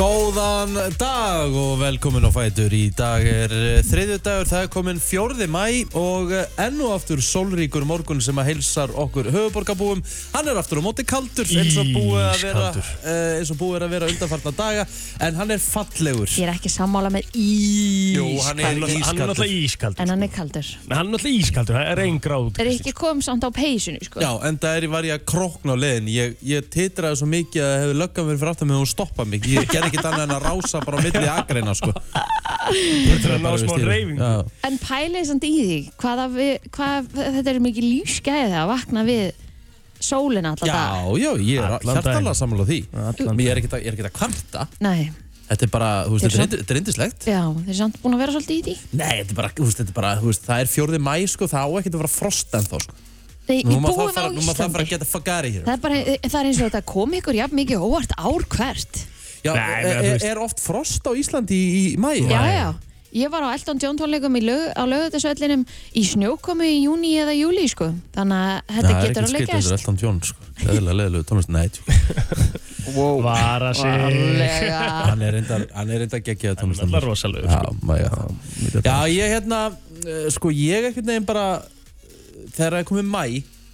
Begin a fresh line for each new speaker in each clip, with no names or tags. Góðan dag og velkomin á Fætur. Í dag er þriðju dagur, það er komin fjórði mæ og eh, enn og aftur sólríkur morgun sem að heilsar okkur höfuborgarbúum. Hann er aftur á móti kaldur eins og búið að vera,
Ískaldur.
eh, eins og búið er að vera undanfartna daga en hann er fallegur.
Ég er ekki sammála með ís
Jú, hann er
Hann er náttúrulega ískaldur
En hann er kaldur
Nei, Hann er náttúrulega ískaldur, það er einn gráð
Er ekki kom samt á peysinu sko
Já, en það er í var ég að krokna á leiðin. Ég, ég titraði svo mikið að hefur löggan verið fyrir aftan mig og hún stoppað mig. Ég gerði ekkert annað en að rása bara á milli agreina, sko.
Þetta er að ná smá reyfingu
Já.
En pælið samt í því hvaða við, hvað, Þetta er mikið lífsgæði það að vakna við sólina alltaf
Já,
dag
já, ég er
Allan
hjartalega
daginn.
sammála því
Allan
Ég er ekkert að, ég er ekkert að kvarta
Nei,
Þetta er bara, þú veist,
Þetta er
þetta er yndi- þetta er indislegt
já, þeir eru samt búin að vera svolítið í því
Nei, þetta er bara, þú veist, þetta er bara, þú veist, það er fjórði mæ, sko, það á ekkert að fara frost en þá, sko
Nei,
Nú
ég
maður það
búið á
fara, nú maður það fara að
Íslandi
geta fagari hér
Það er bara, það er eins og þetta kom ykkur jafn mikið óvart ár hvert
Já,
Nei,
er,
menn, þú
er-
veist-
er oft frost á Íslandi í, í mæ?
Já, já Ég var á Elton John tónleikum í lög, á lögutasöllinum í snjókomi í júni eða júli sko. Þannig að þetta
það er
getur
ekkert
alveg
skrítið, þetta er
gæst
Elton John, sko Leðilega, leðilega, tónlist, nei, tjú.
Vara sig
Varlega
hann er reyndar, hann er reyndar geggjað tónlist
Þetta er rosalegur
Já,
sko.
maður, já. já, ég hérna, eh, sko, ég ekkert neginn bara, eh, þegar það er komið mæ,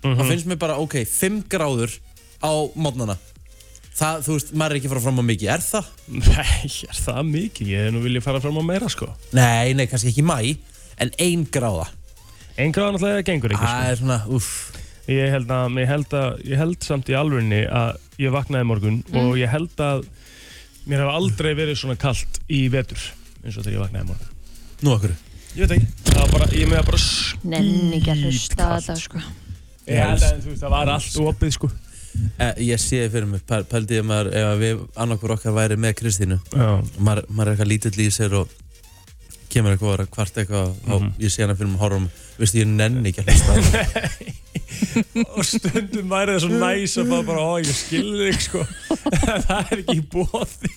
Mhm.
þá finnst mér bara, ok, 5 gráður á mótnana. Það, þú veist, maður er ekki að fara fram á mikið, er það?
Nei, er það mikið? Ég hef nú viljað fara fram á meira sko
Nei, nei, kannski ekki mæ, en 1 gráða.
Einn gráð náttúrulega gengur ekki
Það
sko.
er svona, uff,
ég, held að, ég, held að, ég held samt í alvörinni að ég vaknaði í morgun og ég held að mér hef aldrei verið svona kalt í vetur eins og þegar ég vaknaði í morgun
nú okkur.
Ég veit ekki, það var bara, ég meða bara skýt
Nenni ekki að hlusta á þetta sko
Ég held að þú veist, það var allt opið sko
Eh, ég sé fyrir mig, pæl- pældi ég maður, ef að við annarkur okkar væri með Kristínu,
Já,
maður, maður er eitthvað lítill í sér og kemur eitthvað að kvart eitthvað og
Mhm.
ég sé hana fyrir mig að horfa um, veistu, ég nenni ekki að hlusta á þetta.
og stundum væri það svo næs að bara, bara ó, ég skilði þig sko það er ekki í bóði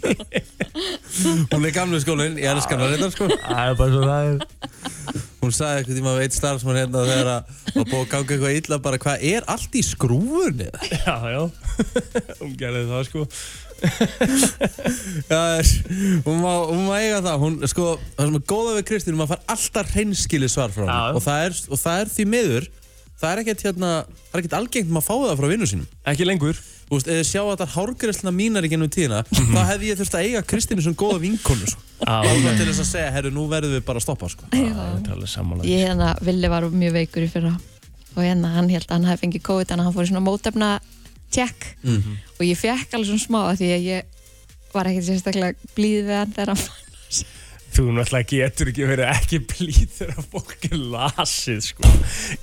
Hún er gamlu skólinn, ég elskar hana reyndar sko
Það er bara svo það er
Hún sagði eitthvað tíma af eitt starfsmann hérna þegar að var búið að ganga eitthvað illa bara hvað er allt í skrúfunni?
Já, já, hún gerði það sko
Já, þess, hún, má, hún má eiga það hún, sko, það sem er góða við Kristín maður fær alltaf hreinskili svar frá
Já, já.
henni og, það er- og það er því miður það er ekkert hérna, það er ekkert algengt maður að fá það frá vinnu sínum
Ekki lengur
Þú veist, eða sjá að það er hárgresluna mínar í gennum tíðina þá hefði ég þurft að eiga Kristínu sem góða vinkonu sko.
Já,
Bara til þess að segja, herru, nú verðum við bara að stoppa sko.
þetta er alveg sammála
Ég hérna, Villi var mjög veikur í fyrra og hérna hann held að hann hefði fengið COVID þannig að hann fór í svona mótefna tjekk
Mhm.
og ég fekk alveg svona smá af því að ég var ekkert sérstaklega blíð við hann þegar hann fann
Þú náttúrulega getur ekki verið ekki blíð þegar fólk er lasið sko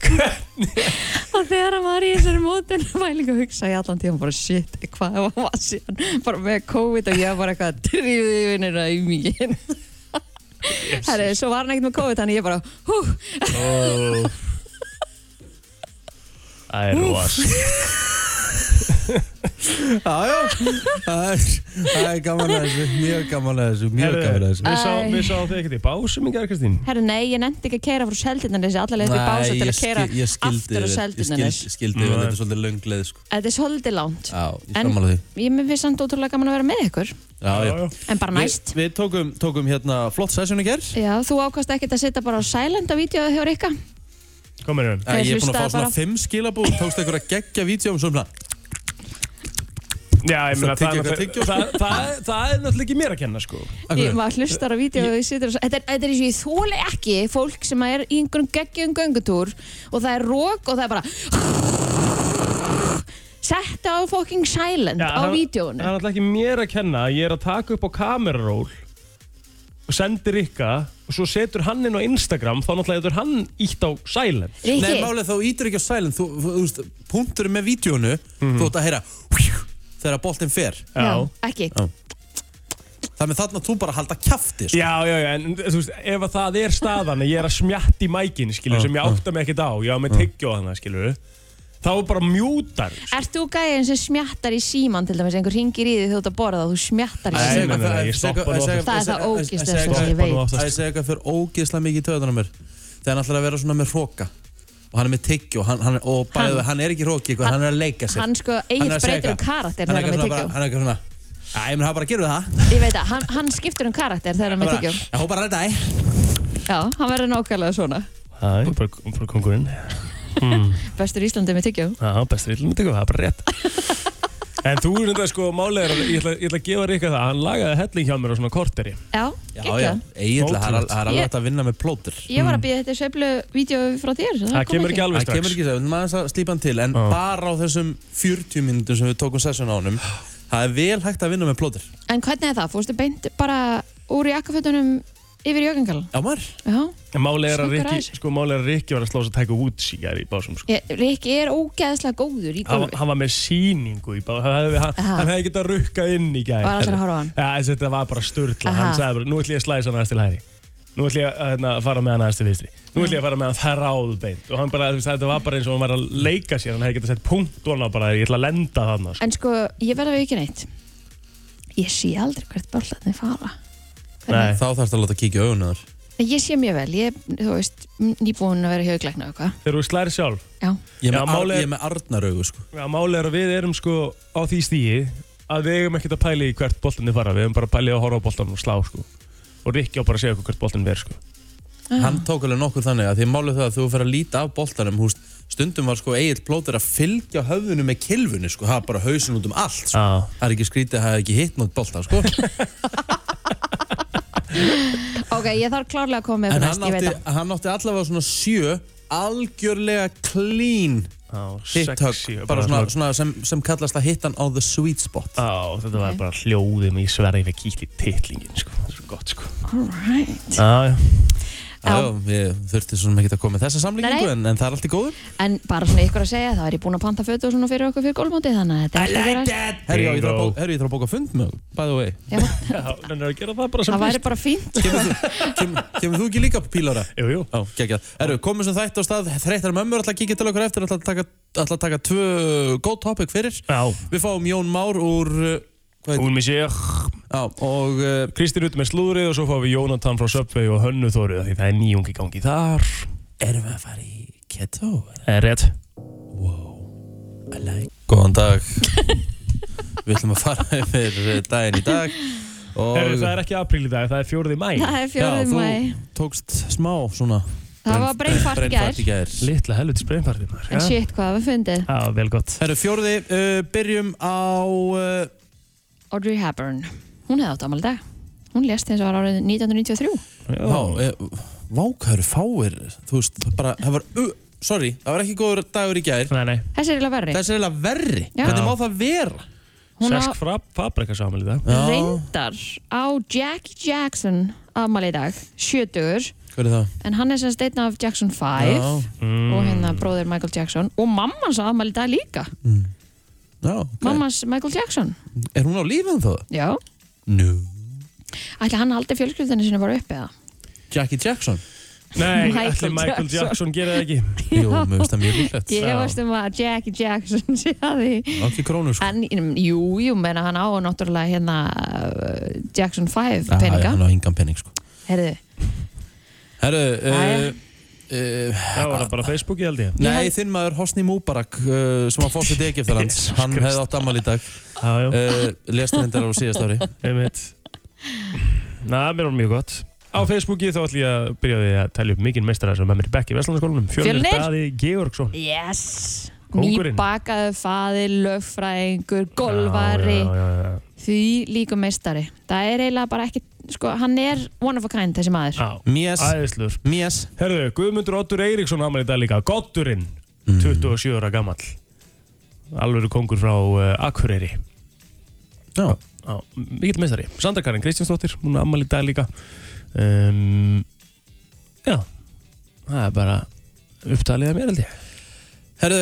Hvernig?
og þegar hann var í þessari mótefna mælingu hugsa ég allan tíma bara shit, hvað var hann síðan bara með COVID og ég var bara eitthvað drífði vinnina í mikið Herri, svo var hann ekkert með COVID þannig ég bara, hú,
Ó. Það er ros
Já, já, það er, það er gaman að þessu, mjög gaman að þessu, mjög gaman að þessu.
Við sá-
Æ.
við sáum þig ekkert í básum í gerðkastín
herru nei, ég nefndi ekki að keira frá seldinarnesi allavega upp í bása til að keira aftur á
Ég
seldinarnesi
skil- skildi vel,
Nei.
þetta er svolítið löng leið, sko.
Þetta er svolítið langt.
Já, ég
En-
sammála því.
Ég mér finnst samt ótrúlega gaman að vera með ykkur.
Já, já.
En bara næst.
Við, við tókum, tókum hérna flott session í gerð.
Já, þú ákvæmst ekkert að setja bara á silent á vídeoðu hjá Rikka.
Komir um
Ég, ég er búin
hlustaði
að fá svona
bara.
fimm skilabú, tókst einhver að gegja vídjum um svona.
Já, ég meina
Það
það,
tyggja
það,
eitthvað tyggjó, sko.
það, það, það, er náttúrulega ekki mér að kenna sko
Ég
Akkur,
maður hlustar á vídeoðu og situr og... Þetta er, þetta er eins og ég þóli ekki fólk sem er í einhverjum geggjum göngutúr og það er rók og það er bara... Setta á fucking silent
Já,
á
það- Það
vídeoðunum.
er náttúrulega ekki mér að kenna að Ég er að taka upp á kameraról og sendir ykka og svo setur hann inn á Instagram þá náttúrulega getur hann ítt á silent
nei,
Rikki,
málið þá ítur ekki á silent, þú, þú, þú veist, punkturinn með vídjónu, þú ætti að heyra þegar boltinn fer.
já, ekki.
Já. Þannig þarna átt þú bara að halda kjafti, sko.
Já, já, já, en þú veist, ef að það er staðan að ég er að smjatti mækin, skilur,
Já,
sem ég átta mig ekkert á, ég á með tyggjó þannig, skilur, þá bara mjútar.
Ert þú gæðin sem smjattar í síman til dæmis, einhver ringir í því þú ert að borða og þú smjattar í
Nei,
síman?
nei, nei, nei, ég stoppa nú oftast.
Það er það ógeðslega sem ég
stoppa nú
veit.
oftast.
Það er segja eitthvað fyrir ógeðslega mikið í töðunum mér Þegar hann ætlar að vera svona með hróka Og hann er með tyggjó hann, hann, Og bæðu, hann, hann er ekki hróki ykkur, hann, er að leika sér
hann sko
Hann er
eigið
að segja
breytir um
eitthvað.
karakter
Hann
þegar
er
hann er
eitthvað
tyggjó
svona bara- Hann er eitthvað svona Æ, ég menn, hann bara gerur það.
Ég veit að hann, hann skiptir um karakter þegar hann er
Bara,
tyggjó.
ég hópa bara þetta, æ.
Já, hann verður nákvæmlega svona.
Það er bara, bara kongurinn.
Bestur í Íslandi með tyggjó.
Já, bestur illum þetta, það er bara rétt. En þú er þetta sko málegar, ég ætla, ég ætla að gefa Rikka það, hann lagaði helling hjá mér á svona korteri.
Já,
Já, já,
gekkja.
eiginlega, það er al- það er alveg
Ég-
hægt að vinna með plótur.
Ég var að býja þetta sveiflu vídeo frá þér.
Það kemur ekki alveg
Það
strax.
kemur ekki það, maður að slípa hann til, en
Já.
bara á þessum 40 minnundum sem við tókum sessun á honum, það er vel hægt að vinna með plótur.
En hvernig er það? Fórstu beint bara úr jakkafötunum yfir jögengal?
Já, maður?
Já.
En málegar
Snöggur
að
að
Rikki,
þessu.
sko málegar að Rikki var að slá þess að tæka út sígar í básum, sko.
Ég- Rikki er ógeðslega góður í
Hann,
golfi.
hann var með síningu í básum, hann, hann,
Aha.
hann hefði getað rukkað inn í gæð.
Var allir að horfa á hann?
Já, þessi, þetta var bara sturgla,
Aha.
hann sagði bara, nú ætlum ég að slæsa hann aðeins til hæri Nú ætlum ég að hérna, fara með hann aðeins til vinstri Nú ætlum ég að fara með hann þar áðu beint Og hann bara, þú veist, þetta var bara eins og hann var að leika sér Hann hefði getað sett punkt og hann bara, ég ætla að lenda þarna sko.
En sko, ég verða við ekki neitt. Ég sé aldrei hvert börlarnir fara.
Nei,
Þá þarfst að láta kíkja augunar.
Nei, Ég sé mjög vel, ég, þú veist, nýbúin að vera hjöglegna og eitthvað.
þegar þú slæri sjálf
Já,
Ég er með,
Já,
ar,
málið er-
ég er með arnaraugu, sko.
Já, máli er að við erum sko á því stíi Að við eigum ekkert að pæli í hvert boltinni fara Við eigum bara að pæli að horfa á boltan og slá sko Og Rikki á bara að segja okkur hvert boltin verð sko
hann tók alveg nokkur þannig að því málið það að þú fyrir að líta af boltanum húst, stundum var sko Egil plótur að fylgja höfðunum með kilfunni sko, það var bara hausin út um allt sko.
Já,
það er ekki skrítið að það hefði ekki hitt nátt bolta sko.
ok, ég þarf klárlega að koma með
en
fyrir
hann
næst, ég veit
átti,
það.
hann átti allavega svona sjö algjörlega clean
á,
hitt
sexy
högg, bara svona, svona sem, sem kallast að hitta hann á the sweet spot
Á, þetta var
Ok.
bara hljóðum í sverið við kýtt í titlingin, sko. Það er svo gott, sko.
All right.
Já, já.
Já.
Já, ég þurfti svona ekki að koma með þessa
Nei,
samlingu
nei.
en, en það er allt í góðu
En bara svona ykkur að segja, þá er ég búin að panta fötu og svona fyrir okkur fyrir gólmóti, þannig að þetta er ekki að vera.
Herri, já, ég þarf að
Bingo.
bóka- herri, ég þarf að bóka fund með by the way
Já,
Já, þannig að gera það bara sem
það væri bara fínt.
Kemur þú, kem, kemur þú ekki líka pílara?
Jú, jú.
Já, geggjað. Erðu, komum sem þætt á stað, þreytar mömmur ætla að kíkja til okkur eftir, ætla að taka, ætla að taka tvö góð topic fyrir.
Já,
Við fáum Jón Már úr, uh, hvað heitir,
hún með sér.
já, og uh,
eh, Kristín út með slúðrið og svo fáum við Jónatan frá Subway og Hönnu Þórið því það er nýjung í gangi þar.
erum við að fara í keto?
Eh, Rétt.
Góðan dag. við ætlum að fara yfir eh, daginn í dag. Og,
Herru, Eh, það er ekki apríl í dag, það er fjóruði mæ.
Það er
Já,
fjórið
þú-
mæ.
Tókst smá svona.
Það var breynfart gær.
í gær.
Litla helvitis breynfartið maður.
En
já.
shit, hvað var fundið?
Já, vel gott.
Herru, fjórði, uh, byrjum á, uh,
Audrey Hepburn. Hún hefði átt ámali dag. Hún lést eins og var árið 1993.
Já,
já, uh, vákæru fáir, þú veist, það bara, það var, uh, sorry, það var ekki góður dagur í gær.
Nei, nei.
Þessi er eiginlega verri.
Þessi er eiginlega verri.
Já.
Hvernig má það vera?
Hún á
Sesk fabrika saman í dag.
Já.
reyndar á Jackie Jackson afmæli í dag, sjötugur.
Hver er það?
En hann er sem steina af Jackson 5
Mm.
og hérna bróðir Michael Jackson og mamman svo afmæli í dag líka.
Já, ok.
Mammas Michael Jackson.
Er hún á lífið þá?
Já.
Nú.
Ætli hann haldi fjölskyldinu sinni bara uppi eða?
Jackie Jackson?
Nei,
Michael
allir Michael
Jackson.
Jackson gera það ekki.
Jú, mér finnst það mjög líklegt.
Ég
Já.
hefast um að Jackie Jackson sé að því.
Hann á Ekki krónu, sko.
En jú, jú, menna hann á og náttúrulega hérna uh, Jackson 5
Ah,
peninga.
Hann á engan pening, sko.
Herðu,
Herru, uh,
Jæja.
uh,
Eh, Það var það bara Facebooki held ég.
nei,
held-
þinn maður Hosni Mubarak, uh, sem var fórsett Egiptaland,
Jesus
hann
Christ.
hefði átt ammal í dag.
Já, já.
Uh, Lest hendar á síðast ári.
Einmitt. Na, mér var mjög gott. Á
Mm.
Facebooki þá ætlum ég að byrja því að tala upp mikinn meistara sem er með mér í bekk í Vestlandaskólanum. Fjölnir
Fjölnir?
Daði Georgsson.
yes!
Kóngurinn.
Nýbakaðu faðir, lögfræðingur, golvari,
Já, já, já, já.
því líku meistari. Það er eiginlega bara ekki, sko, hann er one of a kind þessi maður.
já.
Mies,
Æðislur.
Mies.
Herðu, Guðmundur Oddur Eiríksson ámæli í dag líka. Godurinn,
Mm.
27 ára gamall. Alvöru kongur frá uh, Akureyri.
Já.
Já, mikill meistari. Sandra Karin Kristjánsdóttir, hún ámæli í dag líka. Um, já, það er bara upptalið að mér held ég.
Herru,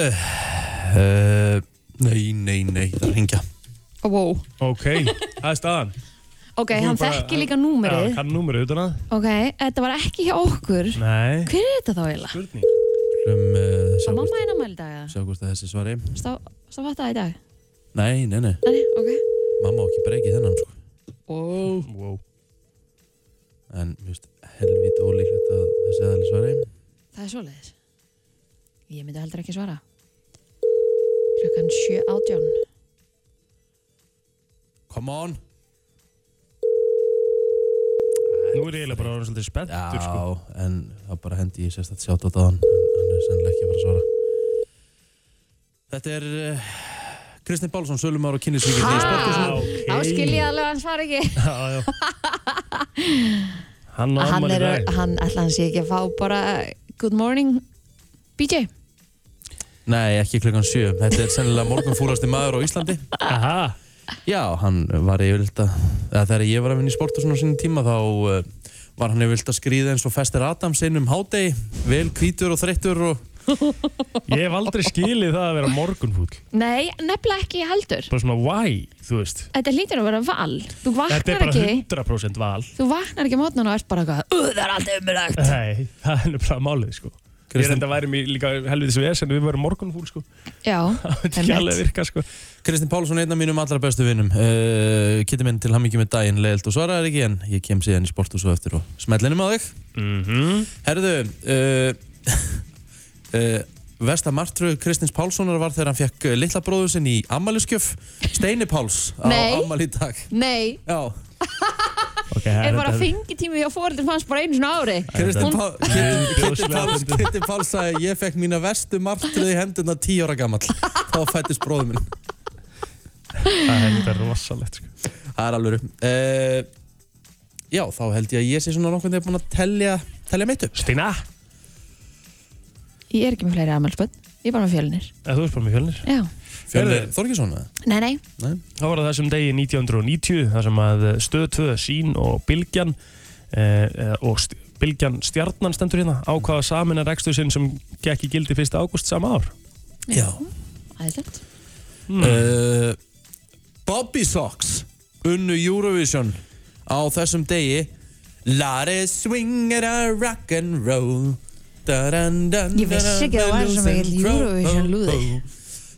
uh, nei, nei, nei, það er að ringja.
Wow.
Ok, það er staðan.
Ok,
Hún
hann
bara-
þekki líka
Já,
númerið.
kann númerið utan að.
Ok, þetta var ekki hjá okkur.
Nei.
Hver er þetta þá eiginlega?
Spurning.
Um, uh, sjá
Á
hvort-
mamma eina mæli dag eða?
sjá hvort að þessi svari.
Stá, stá fatta það í dag?
Nei, nei, nei.
Nei, nei, ok.
Mamma á ekki breykið þennan sko.
Wow.
Wow.
En mér finnst helvítið ólíklegt að þessi aðli svari.
Það er svoleiðis. Ég myndi heldur ekki svara. Klukkan 7 átján.
Come on!
Nú er ég eiginlega bara orðin svolítið spenntur sko.
Já, en það bara hendi ég sérstætt sjátt á það hann hann er sennilega ekki að fara að svara Þetta er uh, Kristinn Bálsson, Sölumár og kynnisvíkir í
Á,
sporthúsinu
Ok.
á skilja alveg að hann svara ekki
Já, já. Hann
Hann
á afmæli í
er,
dag.
hann ætla hann sé ekki að fá bara uh, Good morning BJ
Nei, ekki klukkan sjö Þetta er sennilega morgunfúrasti maður á Íslandi
Aha.
Já, hann var yfirvilt að eða þegar ég var að vinna í sporthúsinu á sínum tíma þá uh, var hann yfirvilt að skrýða eins og Fester Adams inn um hádegi vel hvítur og þreyttur og
Ég hef aldrei skilið það að vera morgunfúll.
Nei, nefnilega ekki heldur
Bara svona why, þú veist.
Þetta hlýtur að vera val Þú
Þetta
vaknar
er bara
ekki
100% val.
Þú vaknar ekki mótnan og ert bara eitthvað "Ú, Það er alltaf umrægt
Nei, það er bara málið sko. Ég er
Kristinn-
enda væri mér líka helvið þessu vesen, við verðum morgunfúl sko.
Já,
Það veit ekki
Einmitt.
alveg að virka sko.
Kristinn Pálsson er einn af mínum allra bestu vinnum uh, Kittir minn til hamingi með daginn leiðilt og svaraðar ekki en ég kem síðan í sporthús og eftir og smellinum á þig
Mm -hmm.
Herðu uh, uh, Vesta martröð Kristins Pálssonar var þegar hann fekk litla bróður sinn í ammæliskjöf Steini Páls á
Nei.
ammæli í dag
nei
Já,
okay,
Er bara fengitími hjá fóreldin fannst bara einu svona ári
Kristinn
Hún-
Pá-
Nei,
Kristinn
bjóðslega
Páls
fyndið.
Kristinn Páls sagði ég fekk mína vestu martröð í hendurna 10 ára gamall þá fættist bróður minn
Það er þetta rosalegt sko.
Það er alveg uh, Já, þá held ég að ég sé svona nokkuð þegar búin að telja, telja mitt upp
Stína,
Ég er ekki með fleiri afmælspöld Ég er bara með fjölinir
eða þú ert bara með fjölnir.
Já,
Fjölnir Þorgesson eða?
nei, nei
Nei
Það var á þessum degi 1990 þar sem að stöð 2 sín og Bilgjan eh, eh, og st Bilgjan stjarnan stendur hérna ákvaða samin að rekstur sinn sem gekk í gildi 1. ágúst sama ár.
Já
Æðislegt
Hmm.
uh, Bobby Sox unnu Eurovision á þessum degi Let it swing it a rock and roll Dun, dun, dun,
Ég vissi ekki að þú værir svo mikill Eurovision lúði.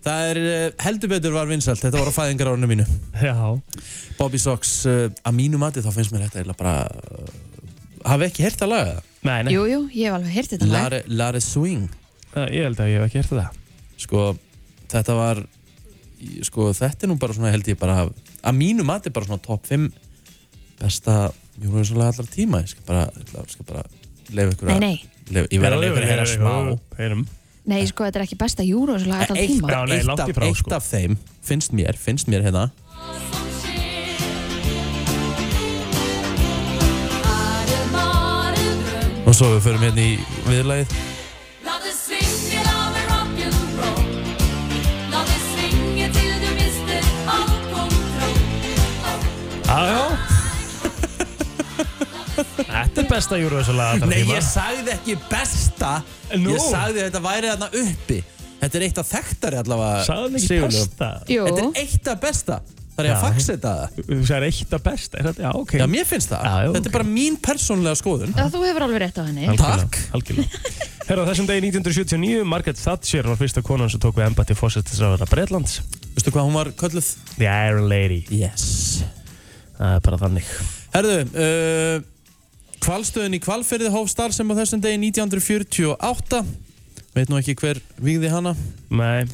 Það er eh, heldur betur var vinsælt, þetta var á fæðingar árinu mínu
Já.
Bobby Sox, uh, að mínu mati þá finnst mér þetta eiginlega bara uh, hafi ekki heyrt að laga
Nei, nei,
Jú, jú, ég hef alveg heyrt þetta
það
lag
Let it- Let it swing
eh, ég held að ég hef ekki hérta það.
sko þetta var sko þetta er nú bara svona held ég bara að mínu mati bara svona top 5 besta júruvísalega allra tíma ég skal bara, ég ætla- skal bara leifa ykkur
Nei,
að
nei,
Leyfa- ég verð að leifa ykkur að heyra smá
Heyrum.
nei, sko, þetta er ekki besta júru og svo laga alltaf
eitt,
tíma
Já, nei,
eitt,
langt í
af,
frá,
eitt
sko.
af þeim finnst mér, finnst mér hérna og svo við förum hérna í viðlagið
Já, já. Þetta er besta júruvísalega allra
Nei,
tíma.
ég sagði ekki besta
Nú.
Ég sagði að þetta væri þarna uppi Þetta er eitt af þekktari allavega
Sagði hann ekki
sigurlögum.
besta?
Jú,
Þetta er eitt af besta Það er ég að
Já.
faxeta það
Þú sagði eitt að besta, er þetta? Já, ok.
Já, mér finnst það
Já, já,
Þetta
ok.
er bara mín persónlega skoðun
það þú hefur alveg rétt á henni
Algjörlega,
Takk.
Algjörlega. Herra, á þessum degi 1979, Margaret Thatcher var fyrsta konan sem tók við embætti fósettisraðara Breitlands.
Veistu hvað hún var kölluð?
The Iron Lady.
Yes
Það er bara þannig.
Herðu, uh, kvalstöðin í kvalferði hóf starfsem á þessum degi 1948 Veit nú ekki hver vígði hana
Nei.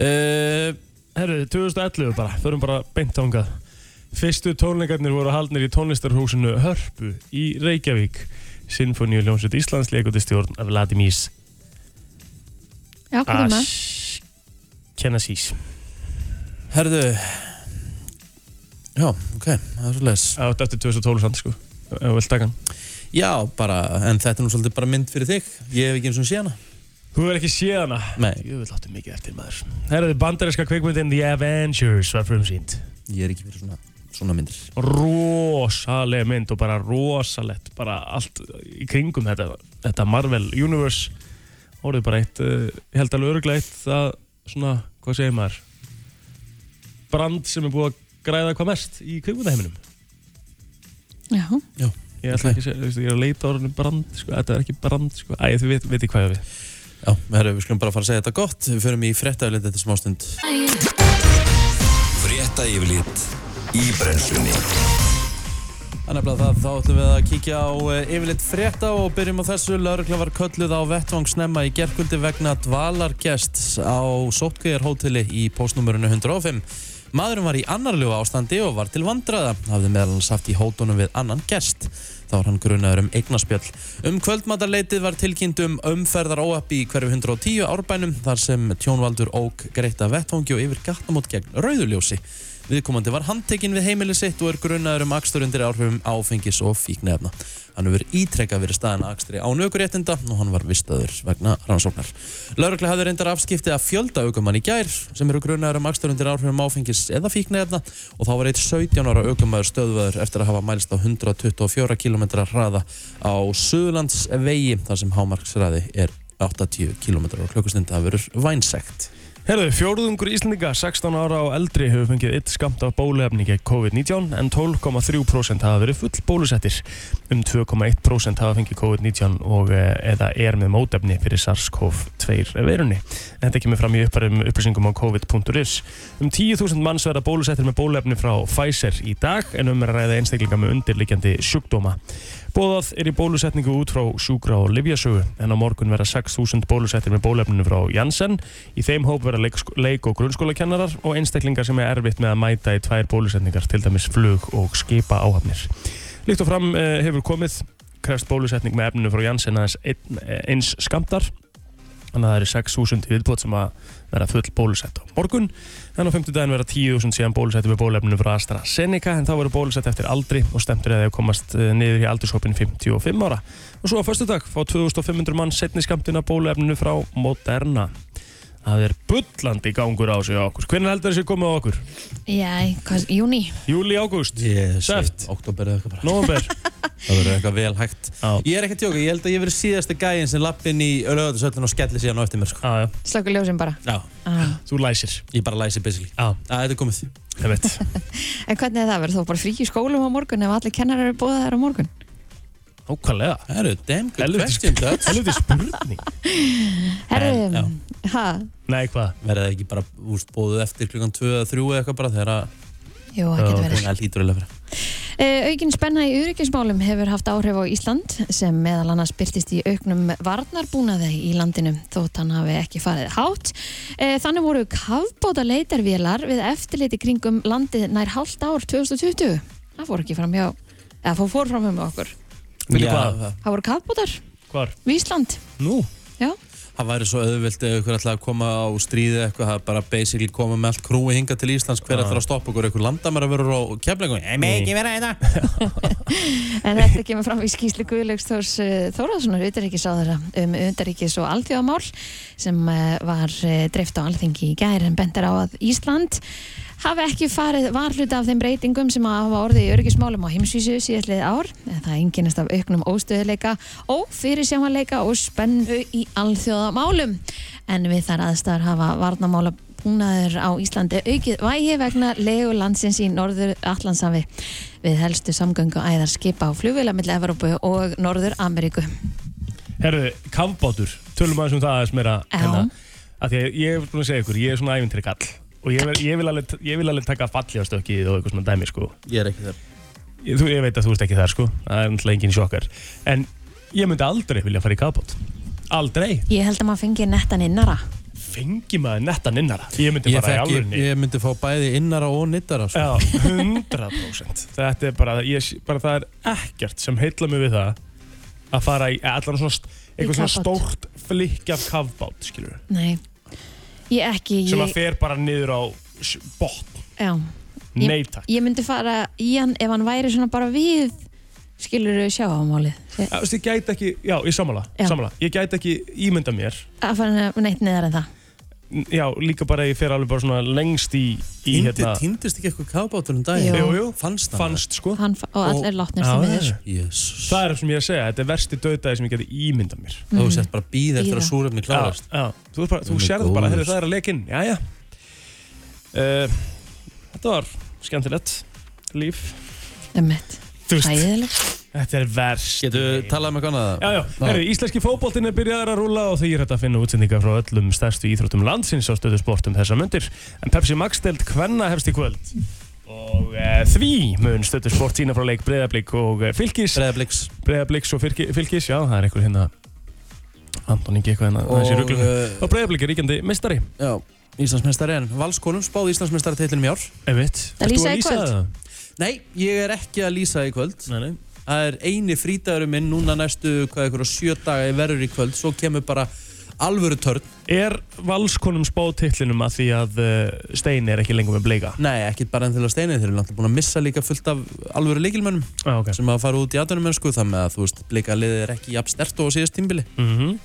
uh,
Herru, 2011 bara, förum bara beint þangað. Fyrstu tónleikarnir voru haldnir í tónlistarhúsinu Hörpu í Reykjavík. Sinfoníu Ljónsveit Íslands leikuti stjórn af Vladimís
Já, hvað er maður?
Ash Kennesís.
Herðu Já, ok, það er svo les
Átt eftir 2012 samt sko. Ef þú vilt taka hann.
Já, bara, en þetta er nú svolítið bara mynd fyrir þig Ég hef ekki eins og sé hana
Þú verður ekki séð hana.
Nei,
Jú, við láttum mikið eftir maður. Herru, bandarinska kvikmyndin The Avengers var frumsýnd.
ég er ekki fyrir svona, svona myndir
rosaleg mynd og bara rosalegt bara allt í kringum þetta, þetta Marvel Universe orðið bara eitt, eh, ég held alveg öruglega eitt að svona, hvað segir maður brand sem er búið að græða hvað mest í kvikmyndaheiminum
Já,
ég ætla ekki að segja, þú veist, ég er að leita orðinu brand sko, þetta er ekki brand, sko, æ, þú veit, veit hvað ég á við
Já, herru, við skulum bara fara að segja þetta gott Við förum í frettaflið þetta smástund
Frétta yfirlit í brennslunni
Þannig að það, þá ætlum við að kíkja á eh, yfirleitt frétta og byrjum á þessu. Lörgla var kölluð á vettvang snemma í gerkvöldi vegna dvalargests á Sotgeirar hóteli í postnumörunu 105. Maðurinn var í annarlegu ástandi og var til vandræða, hafði meðal hans haft í hótunum við annan gest. Þá var hann grunaður um eignaspjöll. Um kvöldmatarleitið var tilkynnt um umferðar í hverfi 110 árbænum þar sem tjónvaldur ók greitt af vettfangi og yfir gattamót gegn rauðuljósi. Viðkomandi var handtekinn við heimili sitt og er grunnaður um akstur undir áhrifum áfengis og fíknefna. Hann hefur ítrekkað verið staðan akstri á nökuréttinda og hann var vistaður vegna rannsóknar. Lörgla hafði reyndar afskipti að fjölda aukumann í gær sem eru grunnaður um akstur undir áhrifum áfengis eða fíknefna og þá var eitt 17 ára aukumaður stöðvaður eftir að hafa mælst á 124 km hraða á Suðlands vegi þar sem hámarksræði er 80 km og klukkustund hafi verið vænsegt.
Herðu, fjórðungur Íslendinga 16 ára og eldri hefur fengið eitt skamt af bóluefni gegn COVID-19 en 12,3% hafa verið full bólusettir. Um 2,1% hafa fengið COVID-19 og eh, eða er með mótefni fyrir SARS-CoV-2 veirunni. En þetta kemur fram í upparum upplýsingum á covid.is. Um 10.000 manns verða bólusettir með bóluefni frá Pfizer í dag en um er að ræða einstaklinga með undirliggjandi sjúkdóma. Bóðað er í bólusetningu út frá sjúkra og livjasögu en á morgun verða 6.000 bólusettir með bólefninu frá Janssen. Í þeim hóp verða leik, leik og grunnskólakennarar og einstaklingar sem er erfitt með að mæta í tvær bólusetningar, til dæmis flug og skipa áhafnir. Líkt og fram eh, hefur komið krefst bólusetning með efninu frá Janssen aðeins einn- eh, eins skamtar. Þannig að það eru 6.000 í viðbót sem að verða full bólusett á morgun. En á 50 daginn verða 10.000 síðan bólusetti með bólefninu frá AstraZeneca en þá verður bólusett eftir aldri og stemtur eða komast eh, niður í aldurshópin 55 ára. Og svo á förstu dag fá 2500 mann setni skamtina bólefninu frá Moderna. Það er bullandi gangur á sig á okkur. Hvernig heldur þessi komið á okkur?
Já, hvað, júni
Júli, ágúst,
Ég
Sæft.
Oktober eða eitthvað bara.
november?
Það verður eitthvað vel hægt.
Já,
Ég er ekki að tjóka, ég held að ég verið síðasti gæinn sem lapp inn í lögatarsöllin og skelli síðan á eftir mér sko.
já, já,
Slökkur ljósin bara
Já,
ah.
þú læsir.
ég bara læsi basically.
Já,
Já, þetta er komið.
ég veit.
En hvernig er það verður þó bara frí í skólum á morgun ef allir kennarar eru bóðað þær á morgun
Ókvæðlega.
Það eru damn good
Helviti
question, Dutch.
Helviti spurning.
Herðu,
En,
ha,
Nei, hvað?
Verða það ekki bara úst bóðu eftir klukkan 2 eða 3 eða eitthvað bara þegar að
jú, það getur
Já,
verið
hún er lítur að vera.
Eh, Aukin spenna í öryggismálum hefur haft áhrif á Ísland sem meðal annars byrtist í auknum varnarbúnaði í landinu þótt hann hafi ekki farið hátt. Eh, Þannig voru kafbóta leitarvélar við eftirliti kringum landið nær hálft ár 2020. Það fór ekki fram hjá, eða fór, fór fram hjá með okkur.
Veitu
Já,
hvað?
það-
Það voru kafbótar
Hvar?
við Ísland.
Nú?
Já,
Það væri svo auðvilt ef ykkur ætlaði að koma á stríði eitthvað, það er bara basically koma með allt krúi hinga til Íslands, hver
Já.
ætlar að stoppa okkur, ykkur landamæra verður á keflingu. Ég með ekki vera þetta.
en þetta kemur fram í skýslu Guðlaugs Þórs eh, Þórðarssonar utanríkisáðara um undaríkis og alþjóðamál sem eh, var eh, dreift á alþingi í gær en bendir á að Ísland hafi ekki farið varluta af þeim breytingum sem hafa orðið í öryggismálum á heimsvísu síðallið ár en það enginnast af auknum óstöðuleika og fyrirsjámanleika og spennu í alþjóðamálum en við þar aðstæðar hafa varnamála búnaður á Íslandi aukið vægi vegna legu landsins í norður Allandsafi við helstu samgöngu æðar skipa á flugvila mill Evrópu og Norður Ameríku.
Herðu, kafbátur, tölum aðeins um það aðeins meira
Já.
Af því að ég er búin að segja ykkur, ég er svona æfintri kall og ég, ver, ég, vil alveg, ég vil alveg taka falli á stökkið og eitthvað svona dæmi sko
Ég er ekki þar.
ég, þú, ég veit að þú ert ekki þar sko, það er náttúrulega engin sjokkar en ég myndi aldrei vilja fara í kafbát Aldrei,
Ég held að maður fengi nettan innara.
fengi maður nettan innara Ég myndi
Ég,
bara í
fekk,
alvörni
ég myndi fá bæði innara og nittara. Sko.
Já, 100% Þetta er bara, ég, sé- bara, það er ekkert sem heilla mig við það að fara í allan svona st-
Í
eitthvað svona
kafbát.
stórt flikki af kafbát, skilur
Nei, ég ekki,
sem að
ég,
fer bara niður á s- botn
já, Ég-
Nei takk
ég myndi fara í hann ef hann væri svona bara við skilur sjáamálið. Ég-
Þú veist, ég gæti ekki, já, ég sammála,
Já.
sammála Ég gæti ekki ímynda mér
Að fara neitt neðar en það.
N- Já, líka bara að ég fer alveg bara svona lengst í, í
Týndi-
hérna
Týndist ekki eitthvað kábátur um daginn?
Jú.
Jú, jú,
Fannst hann?
Fannst sko
Hann fa- og allir látnir
Já,
sem
já,
við
já.
er.
Jésus.
Það er það sem ég er að segja, þetta er versti döðdæði sem ég gæti ímynda mér
Þú sett bara býð eftir
Mhm.
að
Bíða.
súrefni klárast.
Já, já, þú, ert bara,
Guð
þú
minn
sér það bara,
góður.
heyrðu það er að leika inn Já, já uh, Þetta var skemmtilegt líf
Um mitt.
Þú veist,
Æðilegt.
þetta er verst
Getur við talað um eitthvað annað?
Já, já, herri, íslenski fótboltinn er byrjaðar að rúla og því er þetta að finna útsendinga frá öllum stærstu íþróttum landsins á stöðu sportum þessa myndir. En Pepsi Max delt hvenna hefst í kvöld? Og e, því mun stöðu sport sína frá leik Breiðablík og e, Fylkis.
Breiðabliks
Breiðablíks og fylki, Fylkis, já, það er einhver hérna, Anton Ingi eitthvað hérna, þessi ruglum.
uh,
Og Breiðablík er ríkjandi mistari.
já, Íslandsmeistari en Valskólum spáði Íslandsmeistari í ár
Einmitt.
Það
Ert þú
lýsa
að
í kvöld.
það?
Nei, ég er ekki að lýsa í kvöld
Nei, nei.
Það er eini frítagurum minn núna næstu hvað ykkur og sjö daga í verður í kvöld Svo kemur bara alvöru törn
Er valskonum spátillinum að því að uh, Steini er ekki lengur með bleika?
Nei, ekkert bara enn til að steinið þeir eru náttúrulega búin að missa líka fullt af alvöru leikilmönnum
Ah, okay.
sem að fara út í atvinnumennsku þar með að þú veist, blika liðið er ekki jafn stert og á síðast tímbili
mm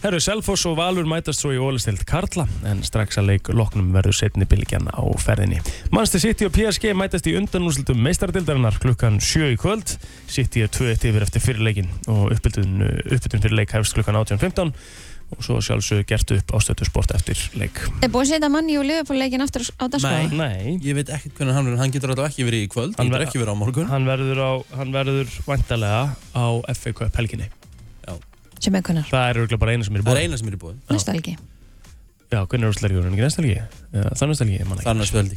Herru, Selfoss og Valur mætast svo í ólistild Karla en strax að leik loknum verður setni bylgjan á ferðinni. Manchester City og PSG mætast í undanúslutum meistardildarinnar klukkan 7 í kvöld. City er 2-1 yfir eftir fyrirleikin og uppbytun, uppbytun fyrir leik hefst klukkan 18.15 og svo sjálfsög gert upp ástötu sport eftir leik.
Er búið að setja manni og lifa bara leikin aftur á dagskrána?
Nei,
Ég veit ekkert hvernig hann verður, hann getur alltaf ekki verið í kvöld
Hann
Hann getur
verður-
ekki verið á morgun
hann verður, á, hann verður vantarlega á FA Cup helginni.
Sem er kunnar.
Það er örgulega bara eina sem er
Það er
búin.
eina sem er í búin,
Næsta helgi.
Já, hvernig er úrslæðurinn? Ekki næsta helgi? Eða Þar næsta helgi, ég man
það
ekki.
er annars veldi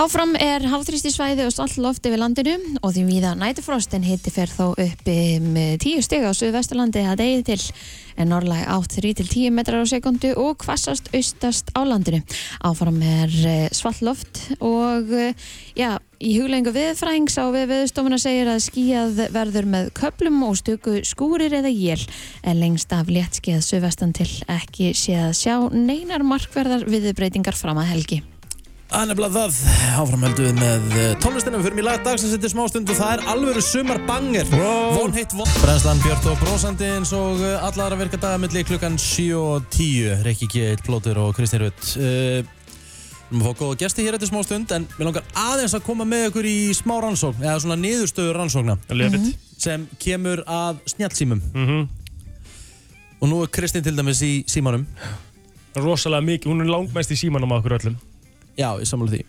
Áfram er háþrýstisvæði og salt loft yfir landinu og því viða nætufrost en hiti fer þó upp um eh, 10 stig á Suðvesturlandi að degi til en norðlæg átt 3 til 10 metrar á sekundu og hvassast austast á landinu. Áfram er eh, svalt loft og eh, já, í huglengu viðfrængs á við viðstofuna segir að skíjað verður með köplum og stöku skúrir eða jél en lengst af léttskíðað Suðvestan til ekki sé að sjá neinar markverðar viðbreytingar fram að helgi.
Það er nefnilega það, áfram höldum við með eh, tónlistina Við förum í lag dagsins eftir smástund og það er alvöru sumar banger Von heitt von Brennslan Björn og brósandi eins og eh, alla aðra virka dagamilli klukkan 7 og 10 Rikki G, Plóter og Kristýn Rutt uh, Við erum að fá góða gesti hér eftir smástund En við langar aðeins að koma með ykkur í smá rannsókn Eða svona niðurstöður rannsókna
Lefið.
Sem kemur að snjallsýmum
Mhm.
Og nú er Kristýn til dæmis í símanum
rosalega mikið, hún er langmest í símanum á okkur öllum
Já, ég sammála því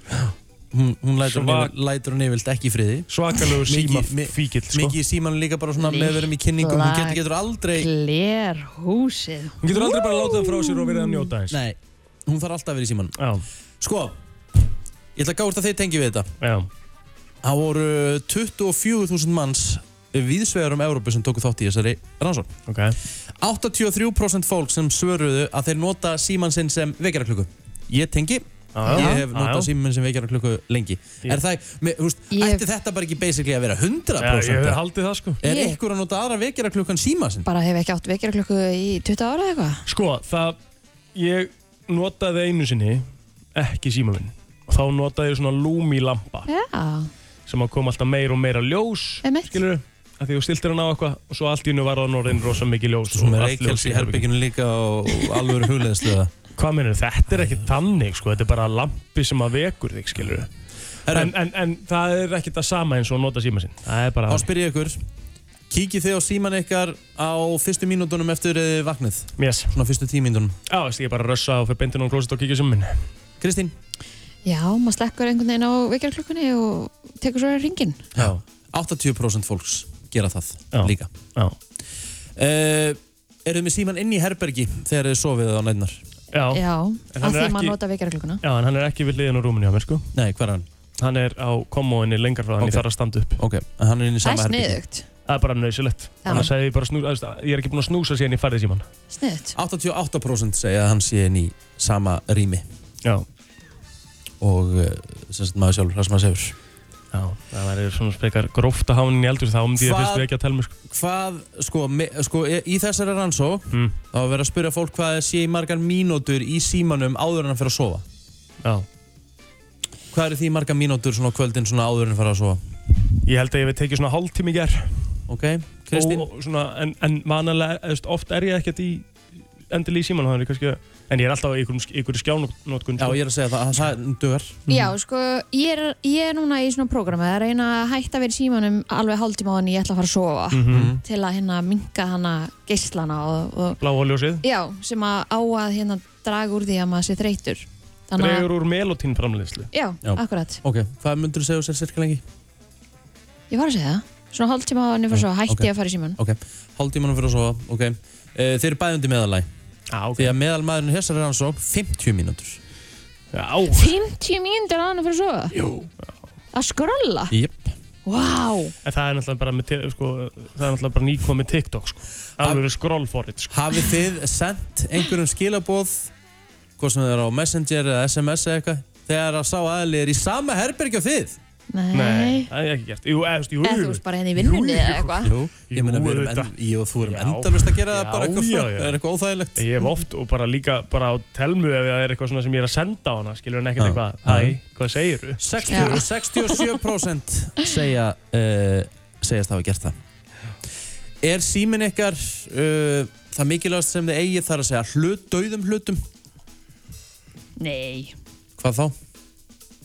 Hún, hún lætur,
Svak-
Svag... lætur hún yfirlt ekki í friði
svakalegu síma
mi-
fíkil sko.
mikið í símanu líka bara svona með verðum í kynningum hún getur, getur aldrei,
Gler húsið
hún getur aldrei bara látað frá sér og verið að njóta eins
nei, hún þarf alltaf að vera í símanu
já,
sko, ég ætla að gáðast að þeir tengi við þetta
já,
það voru 24.000 manns viðsvegar um Európu sem tóku þátt í þessari rannsókn
ok
83% fólk sem svöruðu að þeir nota síman sinn sem vekjaraklukku ég tengi, ég hef notað síman minn sem vekjaraklukku lengi
Ég-
er það, með, húst,
Ég-
ætti þetta bara ekki basically að vera
já, ég
100%
hef haldið það sko
er
Ég-
ykkur að nota aðra vekjaraklukkan síman sinn?
Bara hef ekki átt vekjarklöku í 20 ára eða eitthvað
sko, það, ég notaði einu sinni ekki síma minn og þá notaði ég svona lúmi lampa
Já,
sem að kom alltaf meir og meira ljós
Einmitt.
skilur að því þú stiltir hann á eitthvað og svo allt í hennu var það norðin rosa mikið ljós
Svo
og
með
allt
reykjels
ljós
í herbygginu líka og alvöru hugleðslega
hvað minnur, þetta er ekki þannig sko, þetta er bara lampi sem að vekur þig skilur
Herra,
en, en, en það er ekkert það sama eins og að nota síma sinn Það er bara,
þá spyr ég ykkur Kíkið þið á síman ykkar á fyrstu mínútonum eftir eh, vaknið
yes.
Svona fyrstu tímínútonum
Já, veist, ég er bara að rössa og fyrir bindin og klóset og kíkja sem minn
Kristín?
já maður slekkur einhvern veginn á vekjarklökunni og tekur svo ringin
Já 80% fólks gera það
Já.
líka
Já,
uh, Eruð með síman inn í herbergi þegar þið sofið á nætnar?
já.
Já, af
En hann er
því
ekki-
maður nota vekjarklökunna
já en hann er ekki við liðin á rúminu hjá mér sko
Nei, hver er hann?
Hann er á komóinni lengar frá hann,
Ok.
ég þarf að standa upp
Ok, en hann er inn í
Það
sama
er
herbergi
sniðugt,
Það er bara nöðsilegt
Já.
Annars hefði ég bara snú, að, ég er ekki búin að snúsa síðan ég færði síman
sniðugt
88% segja að hann sé inn í sama rými
Já,
og uh, sem sagt maður sjálfur, það sem maður sefur
já Það væri svona spekar gróft að hafa hann í eldur þá myndi ég
Hvað-
fyrst við ekki að telma sko.
Hvað, sko, me, sko í í þessari rannsók
mm.
þá er verið að spyrja fólk hvað það sé í margar mínútur í símanum áður en að fyrir að sofa
Já,
Hvað eru því margar mínútur svona á kvöldin svona áður en fara að sofa?
ég held að ég við tekið svona hálftími í ger
Ok, Kristín?
og, og svona, en, en vanalega, þú veist, oft er ég ekkert í endilega í síman þannig kannski, en ég er alltaf í einhverjum sk- sko. einhverju skjánótkun
Já, ég er að segja það, það, það dugar.
Mhm.
Já, sko, ég er, ég er núna í svona prógrami að reyna að hætta að vera í símanum alveg hálftíma á hann ég ætla að fara að sofa
Mhm.
til að hérna minka hana geislana og, og
bláa ljósið
já, sem að á að hérna draga úr því að maður sé þreytur Þannig að,
dregur úr melotín framleiðslu
já,
Já.
akkurat
Ok, hvað myndur þú segja sér cirka lengi?
Ég var að segja það. Svona hálftíma á henni fyrir svo hætti
ok.
ég að fara í síman.
Ok, hálftímanum fyrir að sofa, ok. Uh, þeir eru bæðundi meðalæg,
Já, Ah, ok
því að meðalmaðurinn þessari rannsók 50 mínútur.
Já,
50 mínútur á henni fyrir svo? Jú. Að skrolla?
Jep.
Vá! Wow.
en það er náttúrulega bara með, te- sko, það er náttúrulega bara nýkomið TikTok sko. alveg skroll for it sko.
Hafið þið sendt einhverjum skilaboð hvort sem það er á Messenger eða SMS eða eitthvað þegar að sá aðli er í sama herbergi á þið
Nei.
það er ekki gert Jú, eða, þú veist, jú,
Eða
jú,
þú veist bara henni í vinnunni eða eitthvað.
Jú, ég meina við erum, en,
auðvitað.
ég og þú erum
Já.
endalust að gera það
Já,
bara eitthvað
já,
frá,
já.
það er eitthvað óþægilegt
Ég hef oft og bara líka bara á telmu ef það er eitthvað svona sem ég er að senda á hana skilur hann ekkert
Já.
eitthvað, hæ, hvað segir þú?
60, 67% segja, uh, segjast hafa gert það Er símin ykkar uh, það mikilvægast sem þið eigið þar að segja hlut, dauðum hlutum?
Nei.
Hvað þá?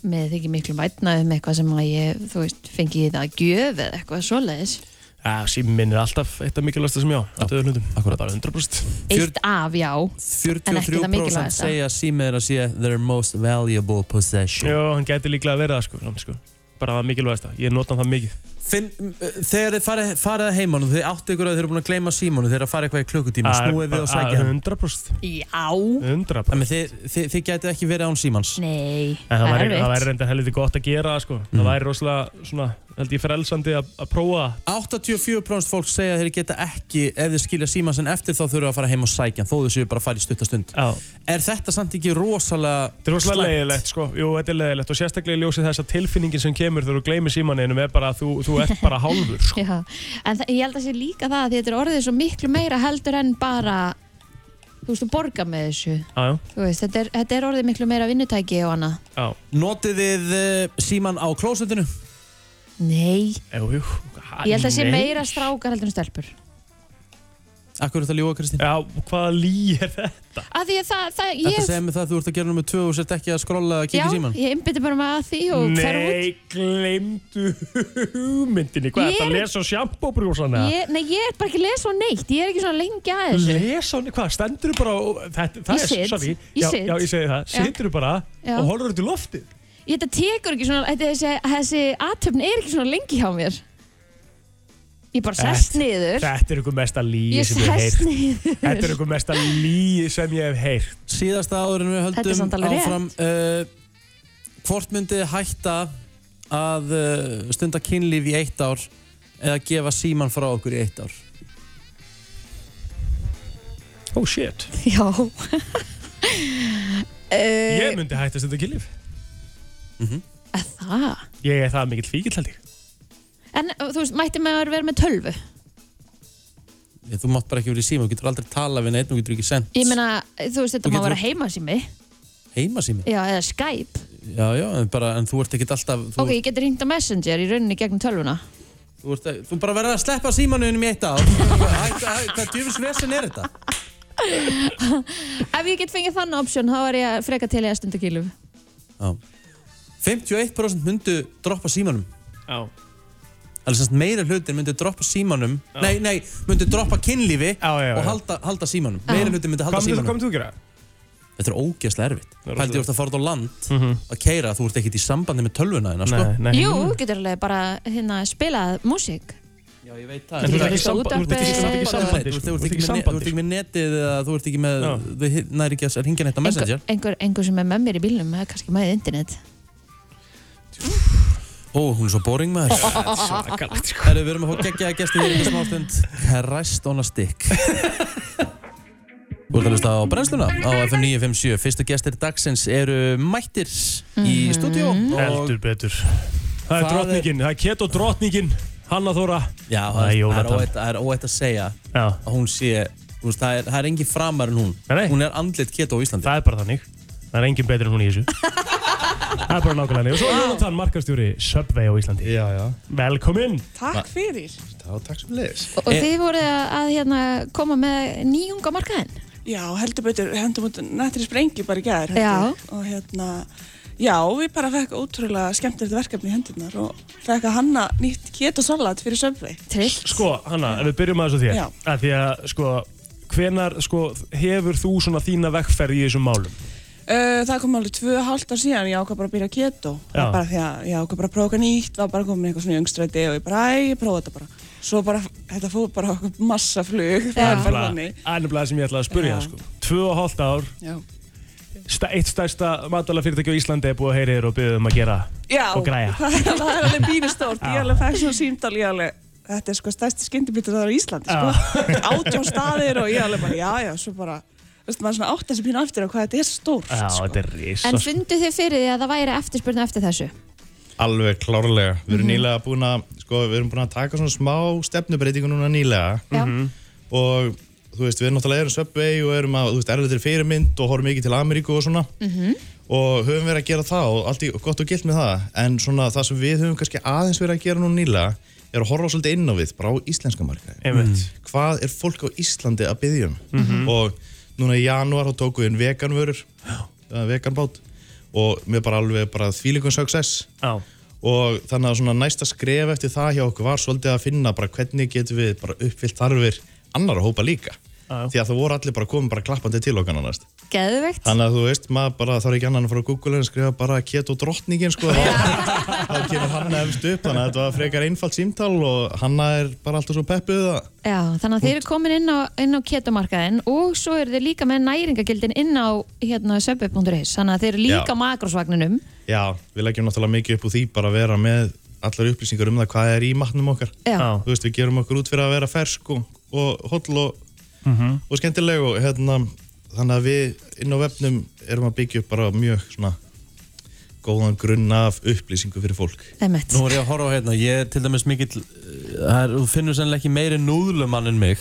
Með þykir miklu mætna um eitthvað sem að ég, þú veist, fengi í það gjöf eða eitthvað svoleiðis.
Já, síminn er alltaf eitt af mikilvægsta sem ég á að döðu hlutum,
Akkurat.
bara 100%
Eitt af, já.
43%
mikilvægasta.
segja símin er að sé their most valuable possession
Jó, hann gæti líklega að vera það sko, samt, sko. bara það mikilvægasta, ég nota það mikið
Finn, uh, þegar þið farið, farið að heimann og þið áttu ykkur að þið eru búin að gleyma símanu þið eru að fara eitthvað í klukkutíma, snúið við og sækja hann
100%
Já.
100%
Þannig þið, þið, þið gætið ekki verið án símans
Nei.
En það væri,
erfitt.
það væri reynda helviti gott að gera það sko.
Mm.
Það væri rosalega, svona, held ég frelsandi að að prófa það.
84% fólk segja að þeir geta ekki ef þeir skilja símans en eftir þá þurfa að fara heim og sækja hann, þó þau séu bara að fara í stuttastund
Já,
Er þetta samt ekki rosalega
þetta er rosalega
slæmt?
leiðilegt sko. Jú, þetta er leiðilegt og sérstaklega í ljósi þess að tilfinningin sem kemur þegar þú gleymir símaninum er bara að þú, þú ert bara hálfur sko.
Já, en það- ég held að sé líka það að þetta er orðið svo miklu meira heldur en bara þú veist, þú borga með þessu
Já, já,
þú veist, þetta er, þetta er orðið miklu meira vinnutæki og annað.
já,
Notið þið uh, síman á klósetinu?
Nei,
jú, jú
ég held að sé
Ah, Nei.
meira strákar heldur en stelpur
Akkur er þetta ljúa, Kristín?
Já, hvaða lí er þetta?
að því að það, það
Þetta
ég,
segir mig það að þú ert að gera nummer 2 og sért ekki að skrolla að kíkja í síman
ég einbytti bara með að því og fer út
Nei, gleymdu hugmyndinni Hvað,
Ég
þetta
er-
lesa á sjampobrúsana?
ég, nei, ég er bara ekki að lesa og neitt ég er ekki svona lengi að þessu
Lesa hann, hvað, stendur þú bara og, þetta, það
Ég
er,
sit.
sorry,
Ég
já,
sit.
já, ég segi það
Já.
Situr þú bara
Já.
og horfur út í loftið
ég, þetta tekur ekki svona, þetta, þessi, þessi aðtöfn er ekki svona lengi hjá mér ég bara sest
Þetta-
niður
Þetta er ykkur mesta líi
ég
sem ég hef
sest
heyrt
niður
Þetta er ykkur mesta líi sem ég hef heyrt
Síðasta áður en við
Þetta er samt
höldum
alveg rétt.
áfram uh, Hvort myndið þið hætta að uh, stunda kynlíf í eitt ár eða gefa síman frá okkur í eitt ár
Oh shit
Já
Ég
uh,
myndi hægt að stunda kynlíf
Mhm.
Það
Ég er það mikill fíkill held ég
En uh, þú veist, mætti maður vera með tölvu
Þú mátt bara ekki verið í síma, þú getur aldrei tala við neitt, þú getur ekki sendt
Ég meina, þú veist,
Þú
þetta má
getur-
vera heima sími
heima sími
Já, eða Skype
Já, já, en, bara, en þú ert ekkert alltaf þú,
Ok, ég geti ringt á Messenger í rauninni gegnum tölvuna
þú, ert, ekki- þú bara verður að sleppa símanuðinum í eitt ár Hæ- hæ- Hvað djöfis vesen er þetta?
Ef ég get fengið þann option, þá var ég freka til í að stunda kýlum
Já. 51% myndu droppa símanum
Já
Alveg semst meira hlutin myndu droppa símanum Nei, nei, myndu droppa kynlífi
Já, já, já.
og halda, halda símanum Meira hlutin myndu halda
Hvað myndir
símanum
þú gera?
Þetta er ógeðslega erfitt
er Mhm.
Pældi þú ert að fara út á land að keira Þú ert ekkert í sambandi með tölvuna þína sko.
nei
Jú, þú getur alveg bara hérna spilað músík
Já, ég veit
En
það
þú
Getur
ert ekki
hlusta á
samband- þú ert ekki- þú
útvarpið.
ert ekki í sambandi
Þú
sko.
ert- þú ert ekki með ne- þú ert ekki með netið eða þú ert ekki með
Já.
Þú næri ekki að hringja neitt á messenger
einhver, einhver, einhver sem er með mér í bílnum Það er kannski með internet
Ó, hún er svo boring maður
Svakalegt sko
Herru, við erum að fá geggjaða gesti hér í þessu ástund Ræst on a stick Þú ert að hlusta á brennsluna á FM 957 Fyrstu gestir dagsins eru mættir í stúdíó og
Heldur betur Það er
Það er-
drottningin, það er keto drottningin Hanna Þóra
já,
Það
það er-
er
það er
Jónatan.
óætt- það er óætt að segja
Já,
að hún sé þú veist, það, er, það er engin framar en hún
Nei, nei.
Hún er andlit keto á Íslandi
það er bara þannig Það er engin betur en hún í þessu Það er bara nákvæmlega þannig. Og svo er Jónatan, markastjóri Subway á Íslandi
Já, já.
Velkomin
Takk fyrir.
Já, takk sem leiðis.
Og, og
Eh.
þið voruð að, að hérna, koma með nýjung á markaðinn
Já, heldur betur, hendum út nættri sprengi bara í gær. heldur.
Já.
Og hérna, já, við bara fekk ótrúlega skemmtilegt verkefni í hendurnar og fekk að hanna nýtt ketosalat fyrir sömvei.
Trillt
Sko, Hanna, ef við byrjum aðeins á þér
Já.
að Því að, sko, hvenar sko, hefur þú svona þína vegferð í þessum málum?
Uh, það kom alveg tvö hálft ár síðan, ég ákvað bara að byrja keto. Það
Já.
var bara því að ég ákvað bara að prófa eitthvað nýtt, var bara komin eitthvað svona í yngstræti og ég bara, æ, ég prófa þetta bara. Svo bara, þetta fór bara okkur massa flug,
Já.
það er bara
Nefnilega-
þannig.
Það er nefnilega það sem ég ætlaði að spurja
Já.
sko. Tvö og hálft ár,
Já.
sta, eitt stærsta matalafyrirtæki á Íslandi er búið að heyri þér og byrja um að gera
Já,
og græja
það, er- það er alveg bínustórt
Já.
Ég alveg fæk svona símdal, ég alveg Þetta er sko stærsti skyndibítur það er á Íslandi sko. Átjón staðir og ég alveg bara, já já Svo bara veist, maður svona átt þessi pínu aftur á hvað þetta er stórt
Já,
sko.
þetta er risa
En fundu þið fyrir því að það væri eftirspurnu eftir þessu?
Alveg klárlega.
Mhm.
Við erum nýlega búin að, sko, við erum búin að taka svona smá stefnubreitingu núna nýlega
Já.
Mhm.
og þú veist, við erum náttúrulega erum Subway og erum að, þú veist, erlega til fyrirmynd og horfum mikið til Ameríku og svona og höfum verið að gera það og allt í gott og gilt með það en svona það sem við höfum kannski aðeins verið að gera núna nýlega er að horfa svolítið inn á við, bara á íslenska markaði
Einmitt. Mhm.
hvað er fólk á Íslandi að byggja um og núna í janúar þá tókum við inn veganvörur uh, veganbát og við bara alveg bara þvílingum success
Já,
og þannig að svona næsta skref eftir það hjá okkur var svolítið að finna bara hvernig getum við bara uppfyllt þarfir annara hópa líka
Já, já.
því að það voru allir bara komið bara klappandi til okkar annars
Geðvegt?
þannig að þú veist, maður bara þarf ekki annan að fara á Google en skrifa bara keto drottningin sko þá þá kemur hanna efst upp þannig að þetta var frekar einfalt símtal og hanna er bara alltaf svo peppuð að
Já, þannig að þið eru komin inn á, inn á ketomarkaðin og svo eru þið líka með næringagildin inn á hérna, söpbu.is þannig að þið eru líka
Já.
á makrosvagninum
já, við leggjum náttúrulega mikið upp úr því bara að vera með allar upplýsingar um það hvað er í matnum okkar
Já,
já,
þú veist, við gerum okkur út fyrir að vera fersk og, og holl og, og skemmtileg og hérna, þannig að við inn á vefnum erum að byggja upp bara mjög svona góðan grunn af upplýsingu fyrir fólk.
einmitt
Nú er ég að horfa á hérna, ég er til dæmis mikill, uh, það er- þú finnur sennilega ekki meiri núðlumann en mig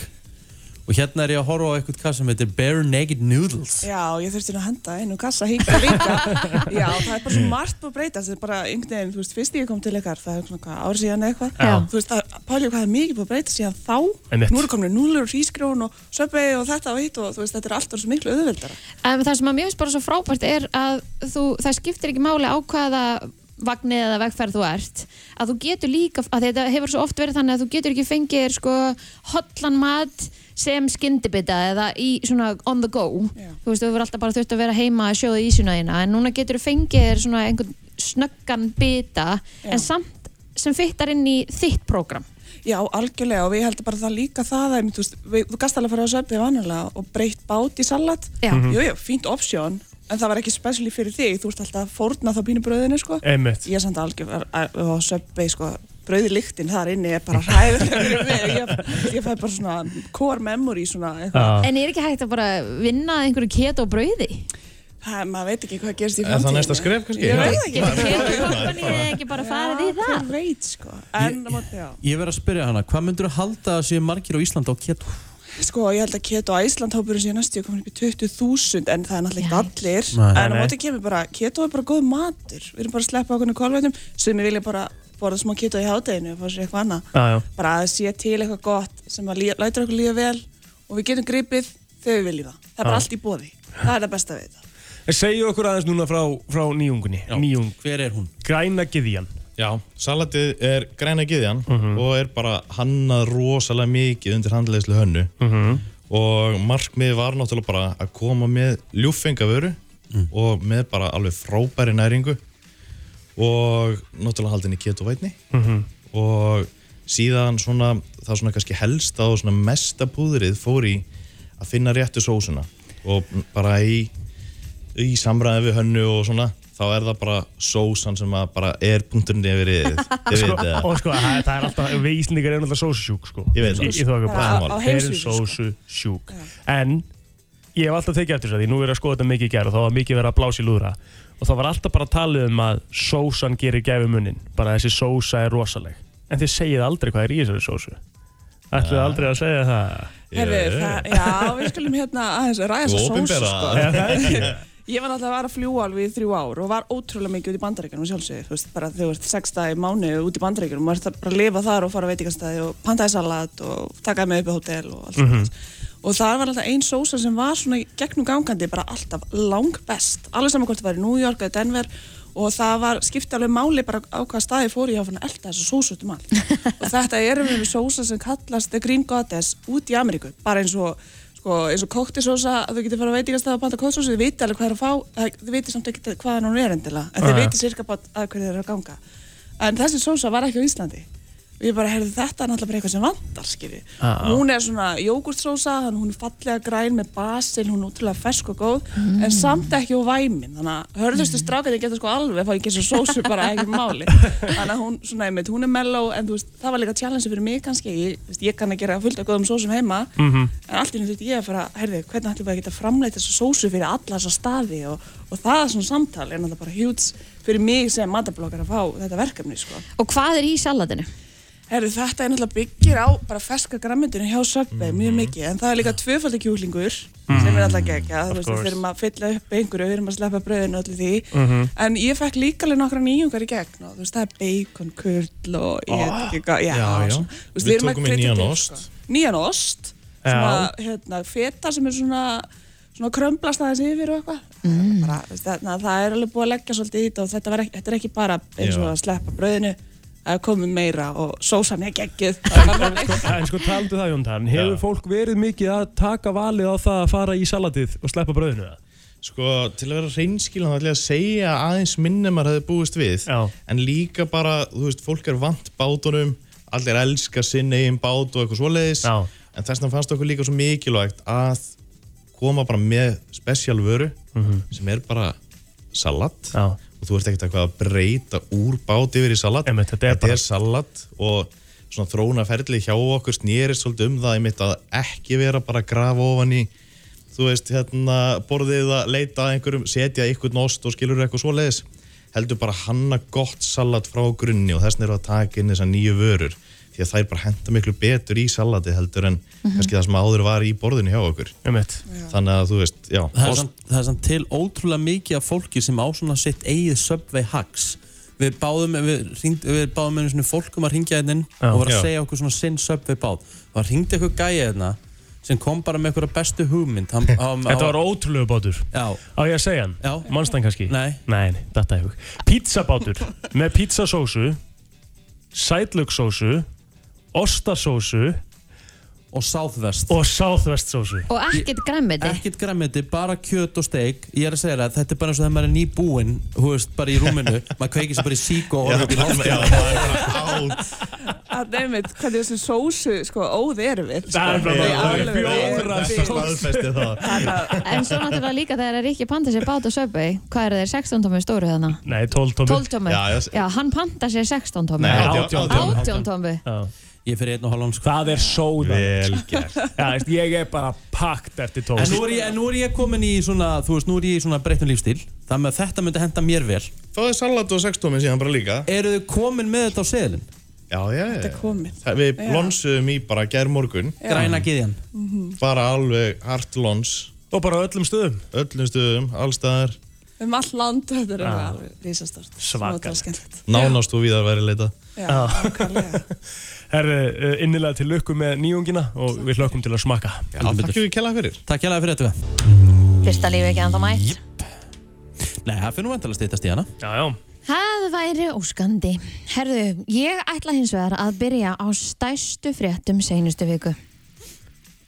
og hérna er ég að horfa á eitthvað hvað sem heitir Bare Naked Noodles.
Já, ég þurfti nú að henda einu kassa híka líka. Já, það er bara svo margt búið að breytast. Það er bara einhvern veginn, þú veist, fyrst ég kom til ykkar, það er svona hvað, ár síðan eða eitthvað.
Já.
Þú veist, það, Páli, hvað er mikið búið að breytast síðan þá?
Einmitt.
Nú eru komin núlur og hrísgrón og söpvei og þetta og hitt og þú veist, þetta er alltaf svo miklu auðveldara.
En það sem að mér finnst bara svo frábært er að þú, það skiptir ekki máli á hvaða vagnið eða vegferð þú ert að þú getur líka, að þetta hefur svo oft verið þannig að þú getur ekki fengið þér, sko hotlan mat sem skyndibita eða í svona on the go
Já.
þú veist, þú verður alltaf bara þurft að vera heima að sjóða ísuna þína, en núna getur þú fengið þér svona einhvern snöggan bita en samt sem fittar inn í þitt prógram
Já, algjörlega og við heldum bara það líka það að þú, veist, við, þú gast alveg að fara á söpvei vanalega og breytt bát í salat.
Já.
Mhm.
Jújú, jú, fínt option, en það var ekki specially fyrir þig. Þú ert alltaf að fórna þá pínu bröðinu, sko.
einmitt
Ég er samt algjör að- á Subway sko, brauðlíktin þar inni er bara hræðilega fyrir mig. Ég, ég fæ bara svona core memory svona eitthvað.
Já,
en er ekki hægt að bara vinna að einhverju keto brauði?
Það, maður veit ekki hvað gerist í
Er
framtíðinni.
það næsta skref kannski?
Ég veit
Já.
ekki.
Getur keto kompanið ekki bara farið í það?
Hver veit sko. En á móti já.
Ég verð að spyrja hana, hvað myndur þú halda að séu margir á Íslandi á keto?
Sko, ég held að keto á Ísland hópurinn sér næstu komin upp í 20.000 en það er náttúrulega ekki allir.
Nei.
en á
Nei, nei.
móti kemur bara, keto er bara góð matur. Við erum bara að sleppa okkur kólvætum sem við vilja bara borða smá keto í hádeginu og fá sér eitthvað annað.
já, já.
bara að sé til eitthvað gott sem að líða, lætur okkur líða vel og við getum gripið þegar við viljum það. Það er bara allt í bóði. Það er það besta við þetta.
En segju okkur aðeins núna frá, frá nýjungunni Nýjung,
Hver er hún?
græna gyðjan Mhm.
Já, salatið er græna gyðjan og er bara hannað rosalega mikið undir handleðslu hönnu
Mhm.
og markmið var náttúrulega bara að koma með ljúffengavöru og með bara alveg frábæri næringu og náttúrulega haldin í ketovætni og síðan svona það svona kannski helsta og svona mesta púðrið fór í að finna réttu sósuna og bara í í samræði við hönnu og svona þá er það bara sósan sem að bara er punkturinn yfir í ég veit það
Og sko, það það er alltaf, við Íslandingar erum alltaf sósusjúk sko.
Ég veit það.
Ég þó ekki að
Já,
bræða
á- á
mál Þeir eru
heimsvísu, sko.
sósusjúk En ég hef alltaf tekið eftir þess að því Nú er að skoða þetta mikið í gerð og þá var mikið verið að blása í lúðra Og þá var alltaf bara talið um að sósan gerir gæfi munnin Bara þessi sósa er rosaleg En þið segið aldrei hvað er í þessari sósu Ætlið þið aldrei að segja það
Herru, það, já, við skulum hérna aðeins ræða þess að sósu
Opinbera.
sko.
Er það ekki?
Ég var náttúrulega að vara að fljúa alveg í þrjú ár og var ótrúlega mikið út í bandaríkjunum sjálfsögðu, þú veist, bara þegar þú ert sex dag í mánu út í bandaríkjunum, maður þarf bara að lifa þar og fara á veitingastæði og pantaði salat og takaði með upp í hótel og
Mhm.
allt mm Og það var alltaf ein sósa sem var svona í gegnum gangandi, bara alltaf lang best, alveg saman hvort það var í New York eða Denver og það var skipti alveg máli bara á hvaða staði fór ég á fann að elda þessu sósu út um allt. og þetta erum við með sósa sem kallast The Green Goddess út í Ameríku, bara eins og sko, eins og kóktisósa, að þú getur fara að veitingastæða og panta kóktisósa, þið viti alveg hvað er að fá það- þið viti samt ekki hvaðan hún er endilega en þið
Nei.
viti sirka bát að hverju þið eru að ganga en þessi sósa var ekki á Íslandi og ég bara, heyrðu, þetta er náttúrulega bara eitthvað sem vandar, skilji.
Ah.
Hún er svona jógurtsósa, þannig hún er fallega græn með basil, hún er útrúlega fersk og góð, en samt ekki á væmin, þannig að hörðustu strákarnir geta sko alveg fáið ekki þessu sósu bara ekki máli. Þannig að hún, svona, einmitt, hún er mellow, en þú veist, það var líka challenge fyrir mig kannski, ég, þú veist, ég kann að gera fullt af góðum sósum heima, en allt í henni þurfti ég að fara, heyrðu, hvernig ætlum við að geta framleitt þessu sósu fyrir alla þessa staði og, og það svona samtal er náttúrulega bara hjúts fyrir mig sem matablokkar að fá þetta verkefni, sko.
Og hvað er í salatinu?
Herru, þetta er náttúrulega byggir á bara ferska grammyndinu hjá Subway mjög
Mhm.
mikið, en það er líka tvöfaldi kjúlingur sem er alltaf gegja, þú veist, við
course.
þurfum að fylla upp einhverju, við þurfum að sleppa bröðinu og öllu því,
Mhm.
en ég fekk líka alveg nokkra nýjungar í gegn og þú veist, það er bacon, kurl og ég veit ekki hvað, já,
Ah. Já, já.
svona. Þú
Við
erum að
tókum inn
krydda
nýjan
til,
ost.
sko. Nýjan ost,
Já.
svona, hérna, feta sem er svona, svona krömblast aðeins yfir og eitthvað,
Mm.
bara, þú veist, þarna, það er alveg búið að leggja svolítið í þetta og þetta, var ekki, þetta er ekki bara eins og
Já.
að sleppa bröðinu að komið meira og sósan er geggið það var bara neitt.
En sko taldu það Jóntan, hefur
Já.
fólk verið mikið að taka valið á það að fara í salatið og sleppa bröðinu það?
Sko, til að vera reynskilan þá ætla ég að segja aðeins minna en maður hefði búist við
Já.
en líka bara, þú veist, fólk er vant bátunum allir elska sinn eigin bát og eitthvað svoleiðis
Já.
en þess vegna fannst okkur líka svo mikilvægt að koma bara með spesial vöru sem er bara salat
Mm. Já.
og þú ert ekkert eitthvað að breyta úr bát yfir í salat
Einmitt, þetta er bara-
salat og svona þróna ferli hjá okkur snýrist svolítið um það einmitt að ekki vera bara að grafa ofan í þú veist, hérna, borðið að leita að einhverjum, setja einhvern ost og skilur eitthvað svoleiðis, heldur bara hanna gott salat frá grunni og þess vegna eru að taka inn þessar nýju vörur því að þær bara henda miklu betur í salati heldur en kannski það sem áður var í borðinu hjá okkur
Einmitt.
þannig að þú veist, já,
það er,
ost-
samt, það er samt til ótrúlega mikið af fólki sem á svona sitt eigið Subway hacks við báðum við, hringd, við báðum einu svona fólk um að ringja hérna inn
Já.
og var að
Já.
segja okkur svona sinn Subway báð og það ringdi eitthvað gæja hérna sem kom bara með einhverja bestu hugmynd hann, hann,
Þetta var ótrúlegu bátur.
já,
Á ég að segja hann?
Já.
Mannstan kannski?
Nei.
Nei, nei, þetta er hug. Pizzabátur með pizzasósu, sætlöksósu, ostasósu
og Southwest
og sáþvestsósu.
Og ekkert græmmiti?
ekkert græmiti, bara kjöt og steik ég er að segja það, þetta er bara eins og þegar maður er nýbúinn hú veist, bara í rúminu, maður kveikir sér bara í sík og orður upp í
já,
loftið
það er bara át
að nefnit hvernig þessu sósu sko óð erum við sko.
Það er bara-
Í
það er
alvöru.
fjóra
Við-
staðfesti það
En svo náttúrulega líka þegar Ríkki panta sér bát og söpvei, hvað eru þeir 16 tómi stóru þarna?
Nei, 12 tómi.
12 tómi?
Já, ég-
Já, hann panta sér 16 tómi.
Nei, átján.
átján.
18 tómi.
Já.
ég fyrir einn og halvan sko
Það er sóðan.
vel gert
Já, veist, ég er bara pakt eftir tómi.
En nú er ég, en nú er ég komin í svona, þú veist, nú er ég í svona breytnum lífstíl Þannig að þetta myndi henda mér vel
Fáðu salat og sextómi síðan bara líka
Eru þið komin með þetta á seðlinn?
Já, já, já
Þetta er komið.
Það- Við
Já.
lonsum í bara gær morgun
Græna giðjan
Mhm.
Bara alveg hart lons
Og bara á öllum stöðum.
Öllum stöðum, allstaðar
um all land þetta er
Ah.
alveg risastort
Svakalegt.
Nánast og víðar væri leita
Ah.
Takk
Herri, uh, innilega til lukku með nýjungina og við hlökkum til að smakka.
Já, takk fyrir kella fyrir
Takk hérlega fyrir þetta
Fyrsta lífi ekki ennþá mætt.
Nei, það fyrir nú vantilega stýttast í hana
Já, já.
Það væri óskandi. Herðu, ég ætla hins vegar að byrja á stæstu fréttum seinustu viku.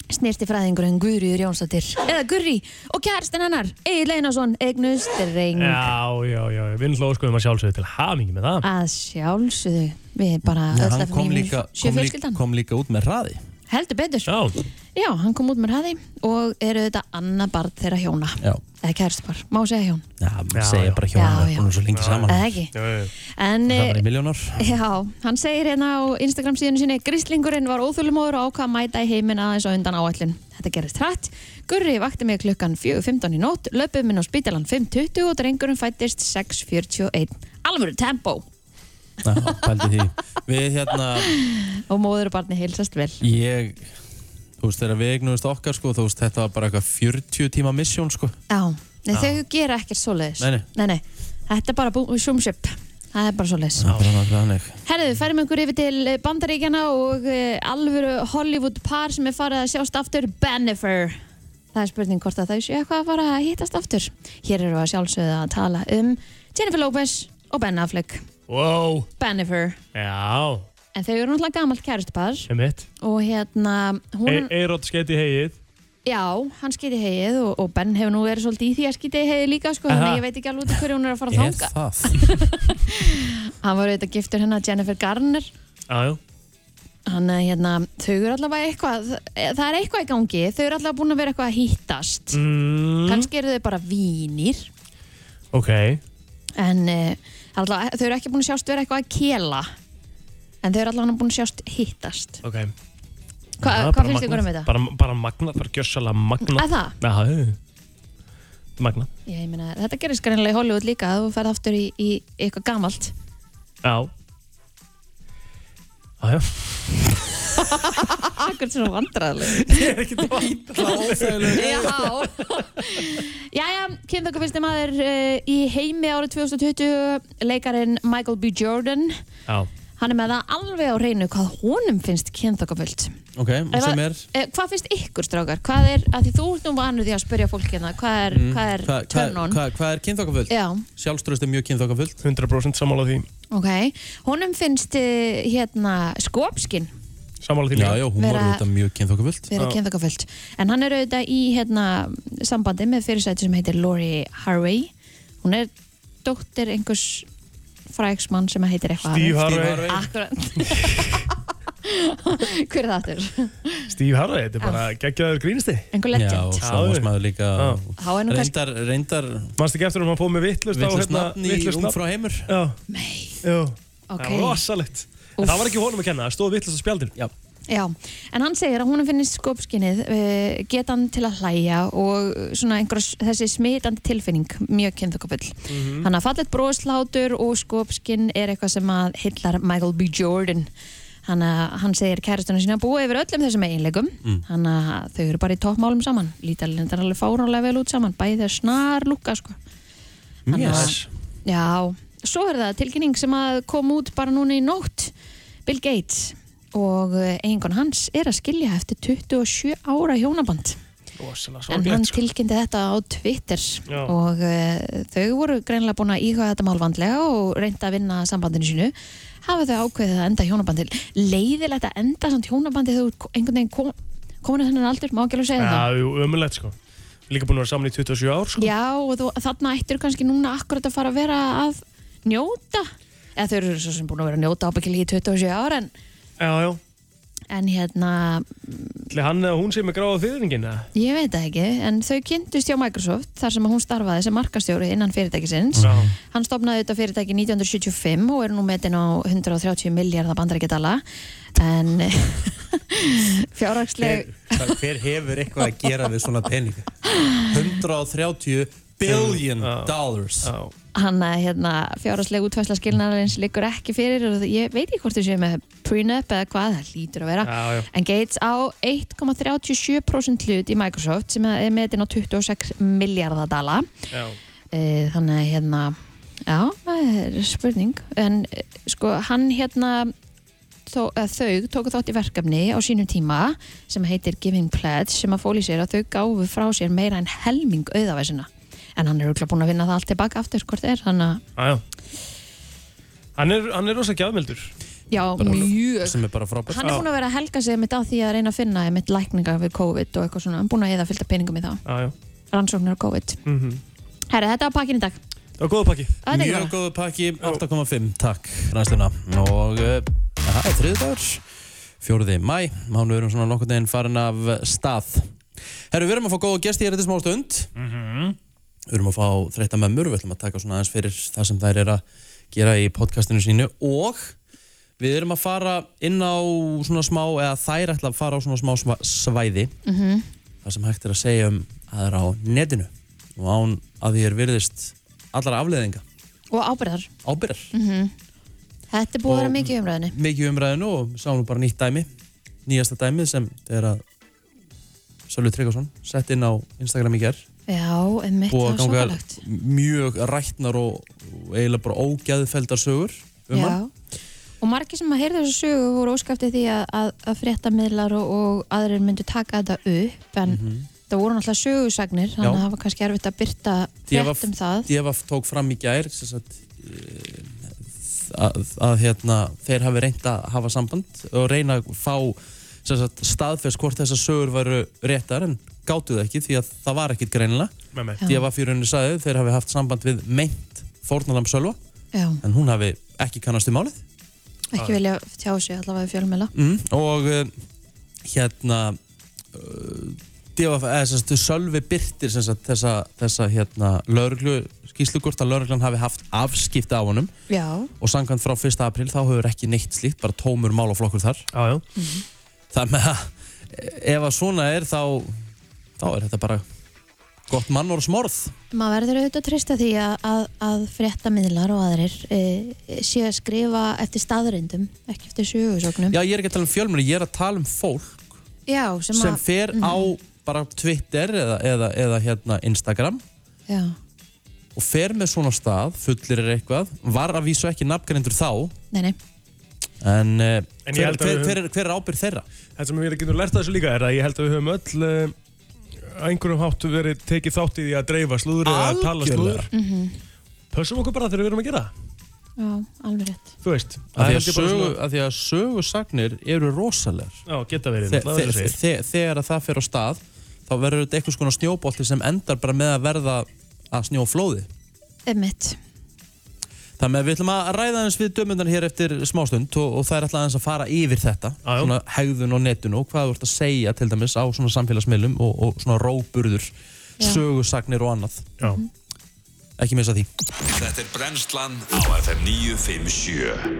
Snirti fræðingurinn Guðrýður Jónsdóttir, eða Gurri og kjærstinn hennar, Egil Einarsson, eignust reyng.
Já, já, já. Við erum hlóðskoðum að sjálfsögðu til hamingi með það.
Að sjálfsögðu, við bara öll
Hann
að
kom
vinir,
líka,
sjö
kom, líka,
fjölskyldan.
kom líka út með hraði
Heldur betur.
Já.
Já, hann kom út með hraði og eru þetta annað barn þeirra hjóna.
Já,
Eða kærstpar, má segja hjón.
já, maður
Já, já.
segja bara hjónum
Já, já.
Það er búin svo lengi saman
Eða ekki.
Já, já.
En,
Það
eh,
var í miljónar
Já, hann segir hérna á Instagram síðan sinni Grislingurinn var óþúlumóður og ákvað að mæta í heiminn aðeins og undan áallin. Þetta gerist hratt. Gurri vakti mig klukkan 4.15 í nótt, löpum minn á spítalan 5.20 og drengurinn fættist 6.41. Alvöru tempo!
Já, pældi því Við hérna,
Og móður og barni heilsast vel.
ég Þú veist, þegar við eignumist okkar sko Þú veist, þetta var bara eitthvað 40 tíma misjón sko
Já, nei, þau gera ekkert svoleiðis.
Nei, nei.
nei, Þetta er bara sjumsip. Það er bara svoleiðis.
Það var bara náttúrulega hannig
Herðu, færum ykkur yfir til Bandaríkjana og uh, alvöru Hollywood par sem er farið að sjást aftur, Bennifer. Það er spurning hvort að þau séu eitthvað að fara að hittast aftur. Hér eru að sjálfsögðu að tala um Jennifer Lopez og Ben Affleck,
Wow.
Bennifer.
Já,
En þau eru náttúrulega gamalt kærustpar
sem mitt. E-
og hérna, hún,
Eirot skeiti hegið.
já, hann skýti hegið og, og Ben hefur nú verið svolítið í því að skýti hegið líka, sko,
Aha.
þannig að ég veit ekki alveg út í hverju hún er að fara að
Er
þanga.
það?
Hann var auðvitað giftur hennar Jennifer hérna, Garner
Já, já.
Þannig að hérna, þau eru allavega eitthvað, e, það er eitthvað í gangi, þau eru allavega búin að vera eitthvað að hýttast.
Mm.
Kannski eru þau bara vínir,
Ok,
en uh, allavega, þau eru ekki búin að sjást vera eitthvað að kela, en þau eru allavega búin að sjást hýttast.
ok
Hva,
Það er bara
hvað finnst ykkur um
magnað.
þetta?
Bara, bara magna, bara gjössalega magna
Að það?
Það er magna
Ég, ég meina, þetta gerist greinlega í Hollywood líka, að þú ferð aftur í, í eitthvað gamalt.
Já Jájá
Akkur svona vandræðileg.
Óþægileg.
Já, jæja, kynþokka fyrsti maður uh, í heimi árið 2020, leikarinn Michael B. Jordan,
Já,
hann er með það alveg á reynu hvað honum finnst kynþokkafullt.
Ok, og sem er
Eh, hvað finnst ykkur strákar? Hvað er, að því þú ert nú vanur því að spyrja fólk hérna, hvað er, hvað er
Mm. Hvað hva,
turn on?
hva, hva er kynþokkafullt?
Já,
Sjálfströðst er mjög kynþokkafullt
100% sammála því
ok. Honum finnst eh, hérna skopskinn
Sammála því
Já,
líka
já, hún var
Vera-
auðvitað mjög kynþokkafullt
vera
Já.
kynþokkafullt. En hann er auðvitað í hérna sambandi með fyrirsæti sem heitir Lori Harvey. Hún er dóttir einhvers fræksmann sem heitir eitthvað.
Steve Harvey
Harvey.
Akkurat. Hver er það aftur?
Steve Harvey, þetta er bara geggjaður grínisti
Ah. Einhver
Já,
legend.
og sjónvarpsmaður líka
Já.
Há er nú kannski...
Reyndar, reyndar
Manstu ekki eftir um að fóð með vittlust
Vittlust nafn í Ungfrá heimur
Já,
Nei,
já
ok.
Það var rosalegt En
Úff.
Það var ekki honum að kenna, það stóð vittlust á spjaldin
Já,
Já, en hann segir að hún finnist skopskinnið, eh, getan til að hlæja og svona einhver þessi smitandi tilfinning, mjög kynþokkafull. Þannig að fallet broslátur og skopskinn er eitthvað sem að hillar Michael B. Jordan. Þannig að hann segir kærastunum sína að búa yfir öllum þessum eiginleikum. Þannig að þau eru bara í toppmálum saman, lítalinn er alveg fáránlega vel út saman, bæði þau snar lúka sko. Þannig að-
Yes.
Já, svo er það tilkynning sem að kom út bara núna í nótt Bill Gates og einhvern hans er að skilja eftir 27 ára hjónaband
Rosalega
en hann
sorglegt sko.
tilkynnti þetta á Twitter
Já.
og uh, þau voru greinlega búin að íhuga þetta málvandlega og reynda að vinna sambandinu sínu hafa þau ákveðið að enda hjónabandið leiðilegt að enda samt hjónabandið þú ert ko- einhvern veginn kom, komin að þennan aldur má ekki alveg segja
Já,
það
jú, ömulegt sko Líka búin að vera saman í 27 ár sko
Já, og þú, þarna ættir kannski núna akkurat að fara að vera að njóta eða þau eru svo sem búin að vera að njóta ábyggilega í 27 ára en,
Já, já
en hérna,
Ætli Hann eða hún sem er gráða fyrðingin
ég veit það ekki en þau kynntust hjá Microsoft þar sem að hún starfaði sem markastjóri innan fyrirtækisins
Já
hann stopnaði þetta fyrirtæki 1975 og er nú metin á 130 miljardar bandarækjadala en fjárhagsleg
hver, hver hefur eitthvað að gera við svona peninga? 130 billion
Já.
dollars
Já
hann að hérna, fjárhagsleg útfæsla skilnaðarins liggur ekki fyrir og ég veit ekki hvort þau séu með prenup eða hvað, það hlýtur að vera
Já, já
En Gates á 1,37% hlut í Microsoft sem er metin á 26 miljardadala.
Já
Þannig að hérna, já, það er spurning. En eh, sko, hann hérna, þó, eh, þau tóku þátt í verkefni á sínum tíma sem heitir Giving Pledge sem að fóli sér að þau gáfu frá sér meira en helming auðavæsina. En hann er auðvitað búin að vinna það allt tilbaka aftur hvort er, þannig að,
Já, já Hann er, hann er rosa gjafmildur
já, mjög
sem er bara frábært
Hann er búin að vera að helga sig mitt á því að reyna að finna mitt lækningar við COVID og eitthvað svona, hann er búin að eða fylta peningum í það,
Já, já
rannsóknir á COVID.
mm
Herra, þetta var pakkin í dag.
Það var góða
Á,
pakki
þetta er
Mjög
ekki bara.
góðu pakki, 8,5 takk rænsluna og uh, það er þriðdagur, fjóruði mæ mánu erum svona nokkur neginn farin af stað Herru, við erum að fá góða gesti hér eftir smá stund
Mhm.
Við erum að fá þreytta mömmur, við ætlum að taka svona aðeins fyrir það sem þær er að gera í podcastinu sínu og við erum að fara inn á svona smá, eða þær ætla að fara á svona smá sva- svæði það sem hægt er að segja um aðra á netinu og án að því er virðist allara afleðinga
Og ábyrðar.
ábyrjar.
Þetta er búið að vera
Og-
mikið í umræðinni.
Mikið umræðinu og sáum nú bara nýtt dæmi, nýjasta dæmi sem er að Sölvi Tryggvason sett inn á Instagram í gerð
Já, einmitt, það
búið
var
að ganga
svakalagt.
mjög rættnar og, og eiginlega bara ógæðfeldar sögur um hann.
Já. Og margir sem að heyrðu þessu sögu voru óskaftið því að, að, að fréttamiðlar og, og aðrir myndu taka þetta upp, en það voru náttúrulega sögusagnir, þannig að
Mhm. Já.
það var kannski erfitt að byrta
Ég var-
frétt um það.
DFF tók fram í gær sem sagt, eh, að, að hérna, þeir hafi reynt að hafa samband og reyna að fá sem sagt, staðfest hvort þessar sögur væru réttar en gátu það ekki því að það var ekkit greinilega.
Með mig
Já.
DFF í rauninni sagði þeir hafi haft samband við meint fórnalam Sölva
Já,
en hún hafi ekki kannast í málið
ekki vilja tjá sig allavega í fjölmela
mm, og eh, hérna uh, DFF, eða sem sagt, Sölvi Birtir sem sagt, þessa, þessa hérna lauruglu, skýslugort að lauruglan hafi haft afskipti á honum
já,
og sangkvæmt frá 1. april þá hefur ekki neitt slíkt, bara tómur málaflokkur þar Mm-hmm.
Já, já.
þar með að eh, ef að svona er þá þá er þetta bara gott mannorsmorð
maður verður auðvitað að treysta því að, að, að fréttamiðlar og aðrir e, sé að skrifa eftir staðreindum ekki eftir sögursóknum
já ég er ekki að tala um fjölmjöli, ég er að tala um fólk
já, sem, að,
sem
Mhm.
fer á bara Twitter eða, eða, eða hérna Instagram
já,
og fer með svona af stað, fullir er eitthvað var að vísu ekki nafngrindur þá
nei, nei
en, eh,
En ég
hver,
held að
hver,
við
hver, er, hver er ábyrð þeirra?
Það sem við getum lært af þessu líka er að ég held að við höfum öll eh, á einhverjum háttu verið tekið þátt í því að dreifa slúður eða að tala
Algjörlega.
slúður
Mhm.
Pössum okkur bara þegar við erum að gera það,
já, alveg rétt
Þú veist
Af
Það
því
er
að,
held ég bara
sögu,
svona-
af því að sögursagnir eru rosalegar
Já, geta verið
Þe,
náttúrulega
þe,
verið að
þe,
segja.
þe, þegar að það fer á stað þá verður þetta eitthvað svona snjóbolti sem endar bara með að verða að snjóflóði
Einmitt.
Þannig að við ætlum að ræða aðeins við dömundan hér eftir smástund og, og það er alltaf aðeins að fara yfir þetta
Já, já.
svona hegðun og netun og hvað þú ert að segja til dæmis á svona samfélagsmiðlum og, og svona róburður,
Já.
sögursagnir og annað Mhm.
Já.
ekki missa því
Þetta er brennslan á FM 957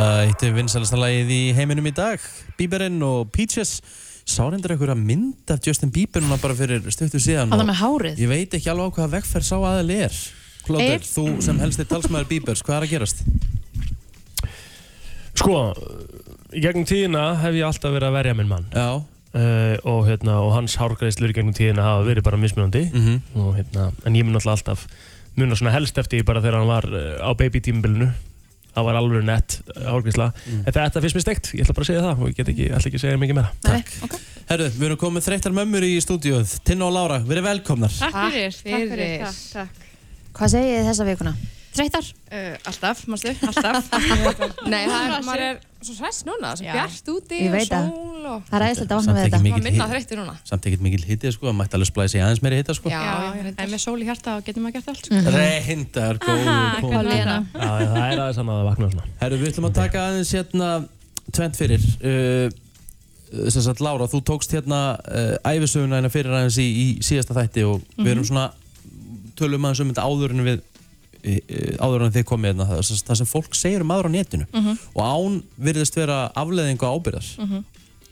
Lætt vinsalasta lagið í heiminum í dag Bieberinn og Peaches Sárendar ykkur að mynd af Justin Bieber núna bara fyrir stöttu síðan
að það
og
með hárið
Ég veit ekki alveg á hvaða vegferð sá aðal er Klóður,
Eir?
þú sem helst er talsmaður Biebers, hvað er að gerast?
Sko, í gegnum tíðina hef ég alltaf verið að verja minn mann
Já,
uh, og, hérna, og hans hárgreiðslur í gegnum tíðina hafa verið bara mismunandi
Mhm.
og, hérna, en ég mun alltaf alltaf muna svona helst eftir því bara þegar hann var uh, á baby tímabilinu það var alveg nett uh, hárgreiðsla
Mm.
en þetta finnst mér steikt, ég ætla bara að segja það og ég get ekki, ætla ekki að segja mikið meira
Takk. Okay.
herru, við erum komið þreyttar mömmur í stúdíuð Tinna og Lára, verið velkomnar
Takk fyrir,
fyrir,
takk, takk.
Hvað segið þið þessa vikuna? Þreytar?
Uh, alltaf, mástu, alltaf. Nei, það er, maður er svo svæst núna, svo
Já.
bjart úti
Ég
og
veit það.
sól og
Það er æðislegt að vakna
Samt
við
ekki
þetta.
mikið.
maður minna þreyttur núna.
Samt ekkert mikil hitti, sko, það mætti alveg splæsi aðeins meiri hitta, sko
Já, já en með sól í hjarta og getur maður gert allt. Sko.
Reyndar, góður punktur.
Lena.
Já, það er aðeins annað að vakna svona
Herru, við ætlum að taka aðeins hérna tvent fyrir uh, sem sagt, Lára, þú tókst hérna uh, æfisöguna hérna fyrir aðeins í, í síðasta þætti og við erum svona tölum aðeins um þetta áður en við eh, áður en þið komið hérna það, sem sagt, það sem fólk segir um aðra á netinu
Mhm.
og án virðist vera afleðingu ábyrðar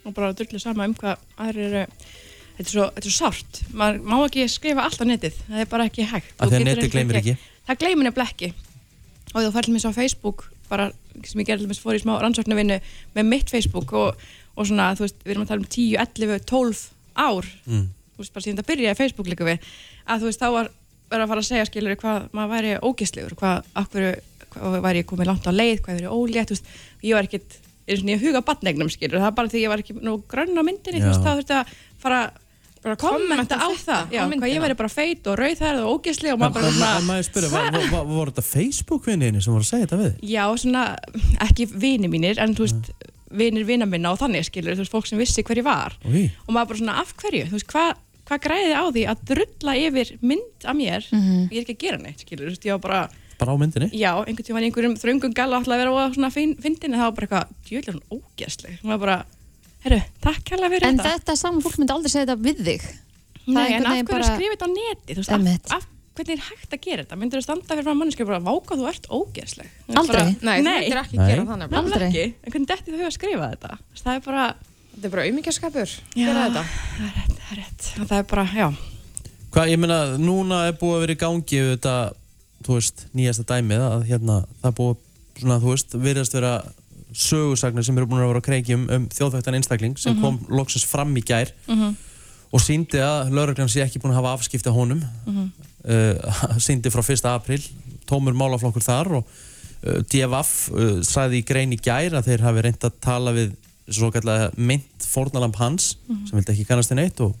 Og bara dullu sama um hvað aðrir eru, þetta er svo, þetta er svo sárt. Maður má ekki skrifa allt á netið, það er bara ekki hægt. Þú
af því að
getur
netið gleymir ekki
það gleymir nefnilega ekki og þú færðir mér svo á Facebook bara sem ég gerði mér fór í smá rannsóknarvinnu með mitt Facebook og, og svona þú veist, við erum að tala um 10, 11, 12 ár,
Mm.
þú veist bara síðan það byrjaði Facebook líka við, að þú veist þá var verið að fara að segja skilur hvað maður væri ógæslegur, hvað, af hverju, hvað væri ég komið langt á leið, hvað væri ólétt þú veist, ég var ekkit, eins og ég huga batnegnum skilur, það var bara því ég var ekki nú grönn á myndinni, þú
Já.
veist, þá þurfti að fara bara kommenta á
þetta,
það, já, hvað
á
ég
myndina.
væri bara feit og rauðhærð og ógæsleg og
En
maður bara
en- en maður spyrir, var- var- var- voru þetta Facebook-vinniðinu sem voru að segja þetta við? þig?
Já, svona, ekki vini mínir, en þú veist, vinir vina minna og þannig skilur, þú veist, fólk sem vissi hver ég var.
Oj.
Og maður bara svona, af hverju, þú veist, hvað hva græði á því að drulla yfir mynd af mér, ég er ekki að gera neitt, skilur, þú veist, ég var bara,
Bara á myndinni?
já, einhvern tímann í einhverjum þröngum galla ætlaði að vera á svona fyndin, fin, en það var bara eitthvað, djöðlega hún ógæsleg, maður bara, herru, takk hérlega fyrir
En
þetta.
þetta saman fólk myndi aldrei segja þetta við þig. það
Nei,
einhvern
en af
veginn
hverju bara...
bara-
skrifa þetta á neti, þú veist,
Einmitt.
af, af, hvernig er hægt að gera þetta? Myndir þú standa fyrir frá manneskja og bara, váka, þú ert ógæsleg.
Aldrei.
Nei, þú
Nei.
myndir ekki
Nei.
gera það nefnilega.
Alveg
Aldrei.
ekki, en hvernig detti þau að skrifa þetta? Þess, Það er bara,
Þetta er bara auðmyggjaskapur.
Já.
Gera þetta.
það er rétt, það er bara, já.
Hvað, ég meina, núna er búið að vera í gangi þetta, þú veist, nýjasta dæmið að hérna, það er búið, svona, þú veist, virðast vera sögursagnir sem eru búin að vera á kreiki um, um þjóðvægtan einstakling
Mhm.
sem kom loksins fram í gær og síndi að lauruglan sé ekki búin að hafa afskipti á honum uh, síndi frá 1. april tómur málaflokkur þar og uh, DFF uh, sagði í grein í gær að þeir hafi reynd að tala við svo kallega mynd fórnalamb hans sem vildi ekki kannast í neitt og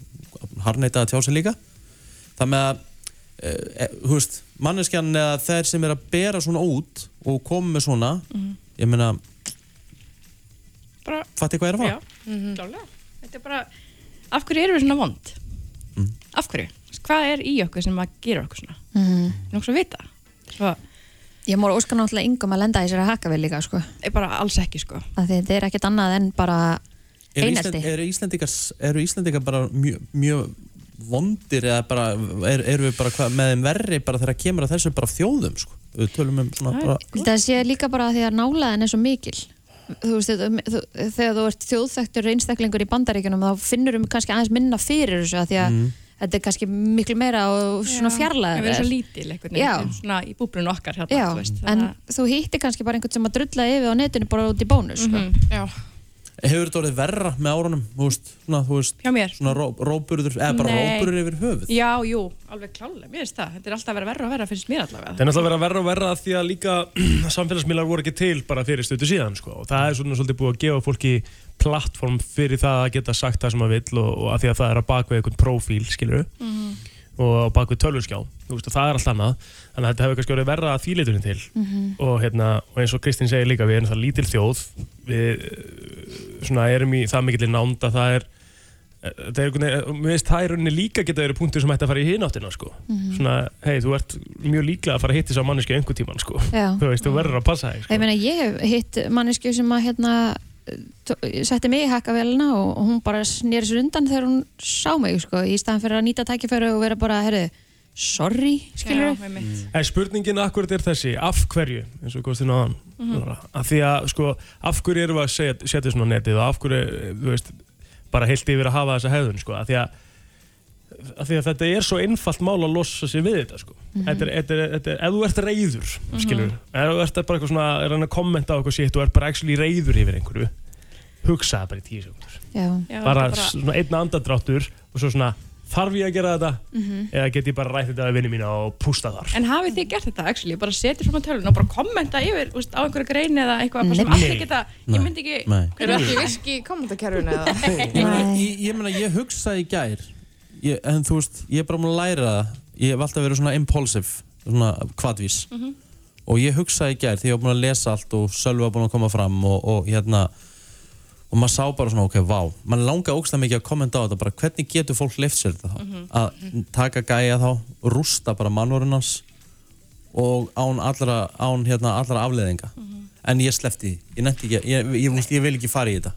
harneitaði að tjá sig líka það með að eh, eh, þú veist, manneskjan eða þær sem er að bera svona út og koma með svona
Mhm.
ég meina,
Bara,
fatti hvað er að
já,
fara?
klálega. Þetta er bara, af hverju erum við svona vond?
Mhm.
Mhm.
Af hverju? Hvað er í okkur sem að gera okkur svona? Mm. Nóks að vita. Svo,
Ég mór óskan náttúrulega yngum að lenda í sér að haka vel líka sko.
Ég bara alls ekki sko
Af því þetta er ekkert annað en bara
Eru
einelti.
Ísland- Eru Íslendingar, eru Íslendingar bara mjög mjö vondir eða bara, er, eru við bara hva, með þeim verri bara þegar kemur að þessu bara þjóðum sko. Við tölum um svona bara,
Þetta sé líka bara því að nálaðin er svo mikil þú veist, þetta- þú- þegar þú ert þjóðþektur einstaklingur í bandaríkjunum þá finnur um kannski aðeins minna fyrir þessu af því að þetta er kannski miklu meira og svona fjarlæður
Við erum svo lítil einhvern
Já.
veginn Svona í búbrun okkar hérna
Já,
þú veist,
en
þannig að-
þú hittir kannski bara einhvern sem að drulla yfir á netinu bara út í bónus sko.
Mhm,
Já.
hefur þetta orðið verra með árunum þú veist, svona, þú veist,
Hjá mér?
svona ró, róburður eða bara
Nei.
róburður yfir höfuð
Já, jú, alveg klálega, mér finnst það Þetta er alltaf að vera verra og verra, finnst mér allavega
Það er náttúrulega að vera verra og verra af því að líka samfélagsmiðlar voru ekki til bara fyrir stötu síðan sko. og það er svona svolítið búið að gefa fólki plattform fyrir það að geta sagt það sem það vill og, og að því að það er að baka við einhvern prófíl, skilur og á bak við tölvurskjá, þú veist, og það er allt annað þannig að þetta hefur kannski verið verra að þýleiturinn til og hérna, og eins og Kristín segir líka við erum það lítil þjóð við eh, svona erum í það mikillir nánd að það er eh, það er einhvern veginn, mér finnst það í rauninni líka geta verið punktur sem ætti að fara í hináttina sko. svona, hei, þú ert mjög líklega að fara að hitta þess að manneski einhver tíman sko.
Já.
þú veist, þú verður að passa þig
Ég
sko.
meina, ég hef hitt mannesku sem að hérna tó- setti mig í hakkavélina og og hún bara snýri sér undan þegar hún sá mig sko, í staðan fyrir að nýta tækifæru og vera bara, herru, sorry skilur
Já, með mitt
en spurningin akkurat er þessi, af hverju eins og kostið náðan
Mhm.
mm að því að, sko, af hverju erum við að setja, setja svona á netið og af hverju, eh, þú veist bara heilt yfir að hafa þessa hefðun sko. að því að að því að þetta er svo einfalt mál að losa sig við þetta sko.
Mhm.
þetta er, þetta er, þetta er, ef þú ert reyður skilur, ef þú ert bara eitthvað svona er hann að kommenta á eitthvað sitt og ert bara actually reyður yfir einhverju, hugsa það bara í tíu sekundur,
Já,
Já,
bara,
þetta er
svona einn andadráttur og svo svona, þarf ég að gera þetta
Mhm.
eða get ég bara rætt þetta við vinni mína og pústa þar
Mhm. En hafið þið gert þetta, actually, bara setið fram á tölun og bara kommenta yfir, þú veist, á einhverja grein eða eitthvað bara sem
Nei.
allir geta, ég myndi ekki
Nei.
Er það ekki viski í kommentakerfinu eða?
ég, meina, ég, ég meina, ég hugsaði í gær ég, en þú veist, ég er bara múin að læra það ég hef alltaf verið svona impulsive svona kvadvís
Mhm.
og ég hugsaði í gær því ég var búin að lesa allt og Sölvi var búin að koma fram og, og hérna og maður sá bara svona, ok, vá mann langaði ógstlega mikið að kommenta á þetta bara hvernig getur fólk leift sér þetta þá að taka gæja þá, rústa bara mannvörun hans og án allra, án, hérna, allra afleðinga en ég sleppti því, ég nefndi ekki ég, ég, ég, ég vil ekki fara í þetta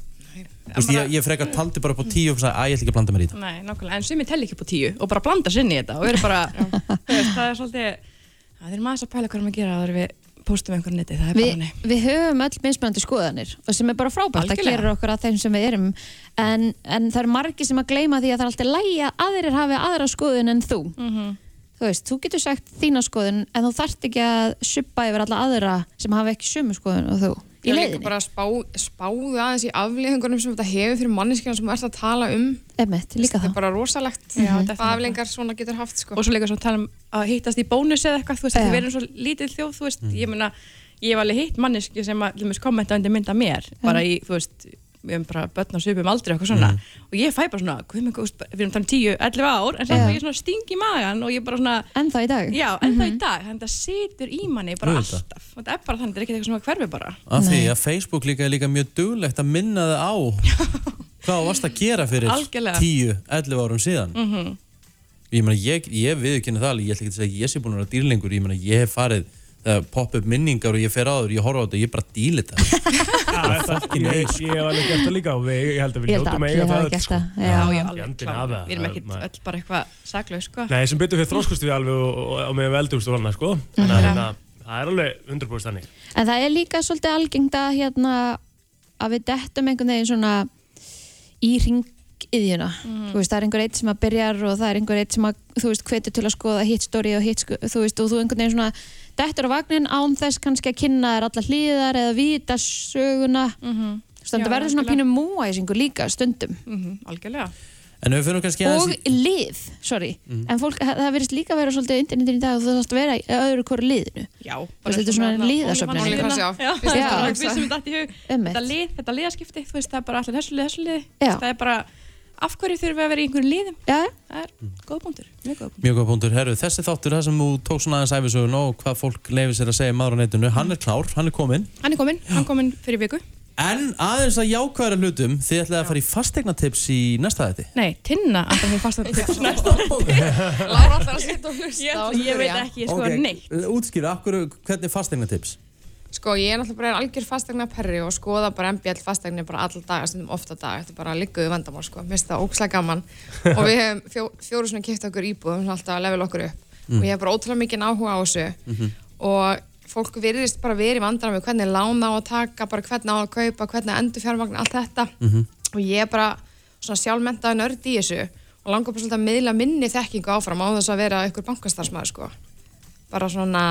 Þú veist, ég, ég frekar taldi bara upp á tíu og sagði að ég ætla ekki að blanda mér í þetta
Nei, nákvæmlega, en sumi telli ekki upp á tíu og bara blanda sinni í þetta og verður bara, þú veist, það er svolítið, það er maður að pæla hvað erum að gera þegar við póstum einhverju á netið, það er
Við,
bara nei.
við höfum öll mismunandi skoðanir og sem er bara frábært að
Algjörlega.
gera okkur að þeim sem við erum en, en það er margir sem að gleyma því að það er alltaf lægi að aðrir hafi aðra skoðun en þú
Mm. Mhm.
þú veist, þú getur sagt þína skoðun en þú þarft ekki að suppa yfir alla aðra sem hafa ekki sömu skoðun og þú í
Ég
leiðinni,
líka bara að spá, spáðu aðeins í afleðingunum sem þetta hefur fyrir manneskina sem þú ert að tala um.
emmett, líka
Þetta
það Mhm.
er bara rosalegt.
Já, þetta er
Hvað afleðingar svona getur haft sko.
Og svo líka svona tala um að hittast í bónus eða eitthvað, þú veist,
Já.
þið verðum svo lítil þjóð, þú
Mm.
veist, ég meina, ég hef alveg hitt manneski sem að, til dæmis, kommenta undir mynda mér, bara í, þú veist, við erum bara börn á svipum aldrei eitthvað svona
Mm.
og ég fæ bara svona, guð mig, góð, við erum þannig 10, 11 ár en samt
Já.
að ég svona sting í magan og ég bara svona,
en það í dag Mhm.
Já, en það í dag, þannig að það situr í manni bara
Auðvitað.
alltaf og það er bara þannig, það er ekki eitthvað sem að hverfi bara
af því að Facebook líka er líka mjög duglegt að minna það á hvað þú varst að gera fyrir
Algjörlega.
10-11 árum síðan
Mhm.
ég meina, ég, ég viðurkenni það alveg, ég ætla ekki að segja að ég sé búin að vera dýrlingur ég meina, ég hef farið það popp upp minningar og ég fer áður, ég horfa á þetta, ég bara dýli þetta
Já, það- ég ég hef alveg gert það líka og við, ég held að við
Ég held að
hljótum
allir
að eiga
hafi
það öll,
gert
sko.
það, já.
Já,
já,
já,
alveg
alveg kláð,
klár.
við erum
Það er
ekkit
maður-
öll bara eitthvað saklaus, sko
Nei, sem betur fyrir þróskust við alveg og, og, og með veldugust og annað sko.
Mhm.
Þannig að hérna, það er alveg 100% þannig.
En það er líka svolítið algengt að hérna að við dettum einhvern veginn svona í ringiðjuna
Mm.
þú veist, það er einhver eitt sem að byrjar og það er einhver eitt sem að, þú veist, hvetur til að skoða hitt stóri og hitt, sko- þú veist, og þú einhvern veginn svona dettur á vagnin án þess kannski að kynna þér allar hliðar eða vita söguna þú veist,
Mhm.
þannig
Já,
að verður svona
algjörlega.
pínu múæsingu líka stundum
Mhm, Algjörlega
en ef við finnum kannski
og
aðeins í-
lið, sorry
Mhm.
en fólk, það það virðist líka að vera svolítið á internetin í dag og þú þarfst að vera í öðru hverju liðinu
Já, hérna
Þú veist, þetta er svona liðasöfnun.
Olíufannsliðina.
Já,
Já.
það er við sem þetta í hug
Einmitt.
Þetta lið, þetta liðaskipti, þú veist, það er bara allir þessu lið, þessu lið
Já.
Það er bara, af hverju þurfum við að vera í einhverjum liðum?
Já,
Það er
Mm.
góð punktur, mjög góð punktur
Mjög góð punktur, herru, þessi þáttur, það sem þú tók svona aðeins æfisögun og hvað fólk leifir sér að segja maður á netinu, hann er klár, hann er kominn
Hann er kominn, hann kominn fyrir viku
En aðeins að jákvæðara hlutum, þið ætlaði að fara í fastegnatips í næsta þætti.
Nei, tinna alltaf fyrir fastan tips næsta
Lára alltaf að setja og hlusta
Ég,
og
ég veit
spyrja.
ekki, ég sko okay. neitt
Útskýra, af hverju- hvernig fastegnatips?
Sko, ég er náttúrulega bara algjör fastegna perri og skoða bara MBL fastegnir bara alla daga, stundum ofta daga, þetta er bara líkuðu vandamál, sko, mér finnst það ókslega gaman og við hefum fjó, fjóru svona kipta okkur íbúðum svona alltaf að level okkur upp og ég hef bara ótrúlega mikið áhuga á þessu
Mhm.
og fólk virðist bara verið í vandana með hvernig lána á að taka, bara hvernig á að kaupa, hvernig að endur fjármagn, allt þetta og ég er bara svona sjálfmentaði nörd í þessu og langar bara svolítið að miðla minni þekkingu áfram á þess að vera einhver bankastarfsmaður, sko bara svona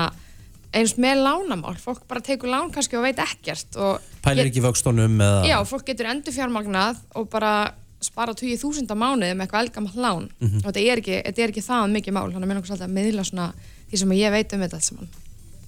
eins með lánamál, fólk bara tekur lán kannski og veit ekkert og
Pælir ekki vöxtunum eða...
já, fólk getur endurfjármagnað og bara spara 20.000 á mánuði með eitthvað elgamall lán og þetta er, ekki, þetta er ekki það mikið mál, þannig að mér langar svolítið að miðla svona því sem ég veit um þetta allt saman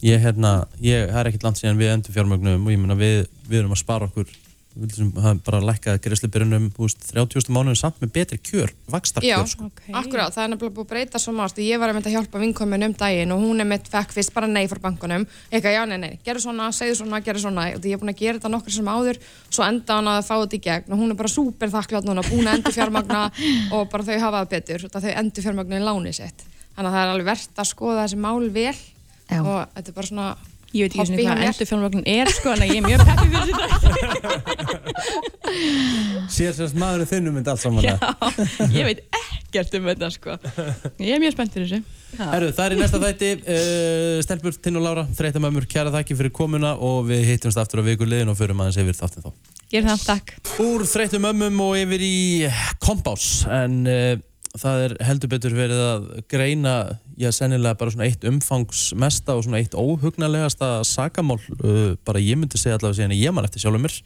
Ég, hérna, ég, það er ekkert langt síðan við endur fjármögnum og ég meina við, við erum að spara okkur við viljum hafa bara lækka greiðslubyrjunum 30.000 mánuðin samt með betri kjör
Já,
vakstarkjör sko.
akkurát, það er nefnilega búið að breyta svo margt og ég var að mynda að hjálpa vinkomin um daginn og hún er mitt fekk fyrst bara nei frá bankunum eitthvað, já, nei, nei, gerðu svona, segðu svona, gerðu svona og því ég er búin að gera þetta nokkur sem áður svo enda hann að fá þetta í gegn og hún er bara súper þakklátt núna, búin að endur fjármagna og bara þau hafa það betur, þetta þau endur fjármagna í láni sitt, þannig að það er alveg verðt að skoða þessi mál vel
Já.
og þetta er bara svona
Ég veit ekki
hobby
svona
hjá
hvað
mér.
endur fjármögnun er sko en ég er mjög peppið fyrir þetta
Sér sérst maður þinnum mynd allt saman yeah.
Ég veit ekkert um þetta sko Ég er mjög spennt fyrir þessu
Herru, það er í næsta þætti uh, Stelbur, Tinn og Lára, þreytamömmur, kæra þakki fyrir komuna og við hittumst aftur á viku liðin og förum aðeins yfir þáttin þá
Ég er það, takk
Úr þreytum ömmum og yfir í kompás en uh, það er heldur betur verið að greina já, sennilega bara svona eitt umfangsmesta og svona eitt óhugnalegasta sakamál, uh, bara ég myndi segja allavega síðan að ég man eftir sjálfum mér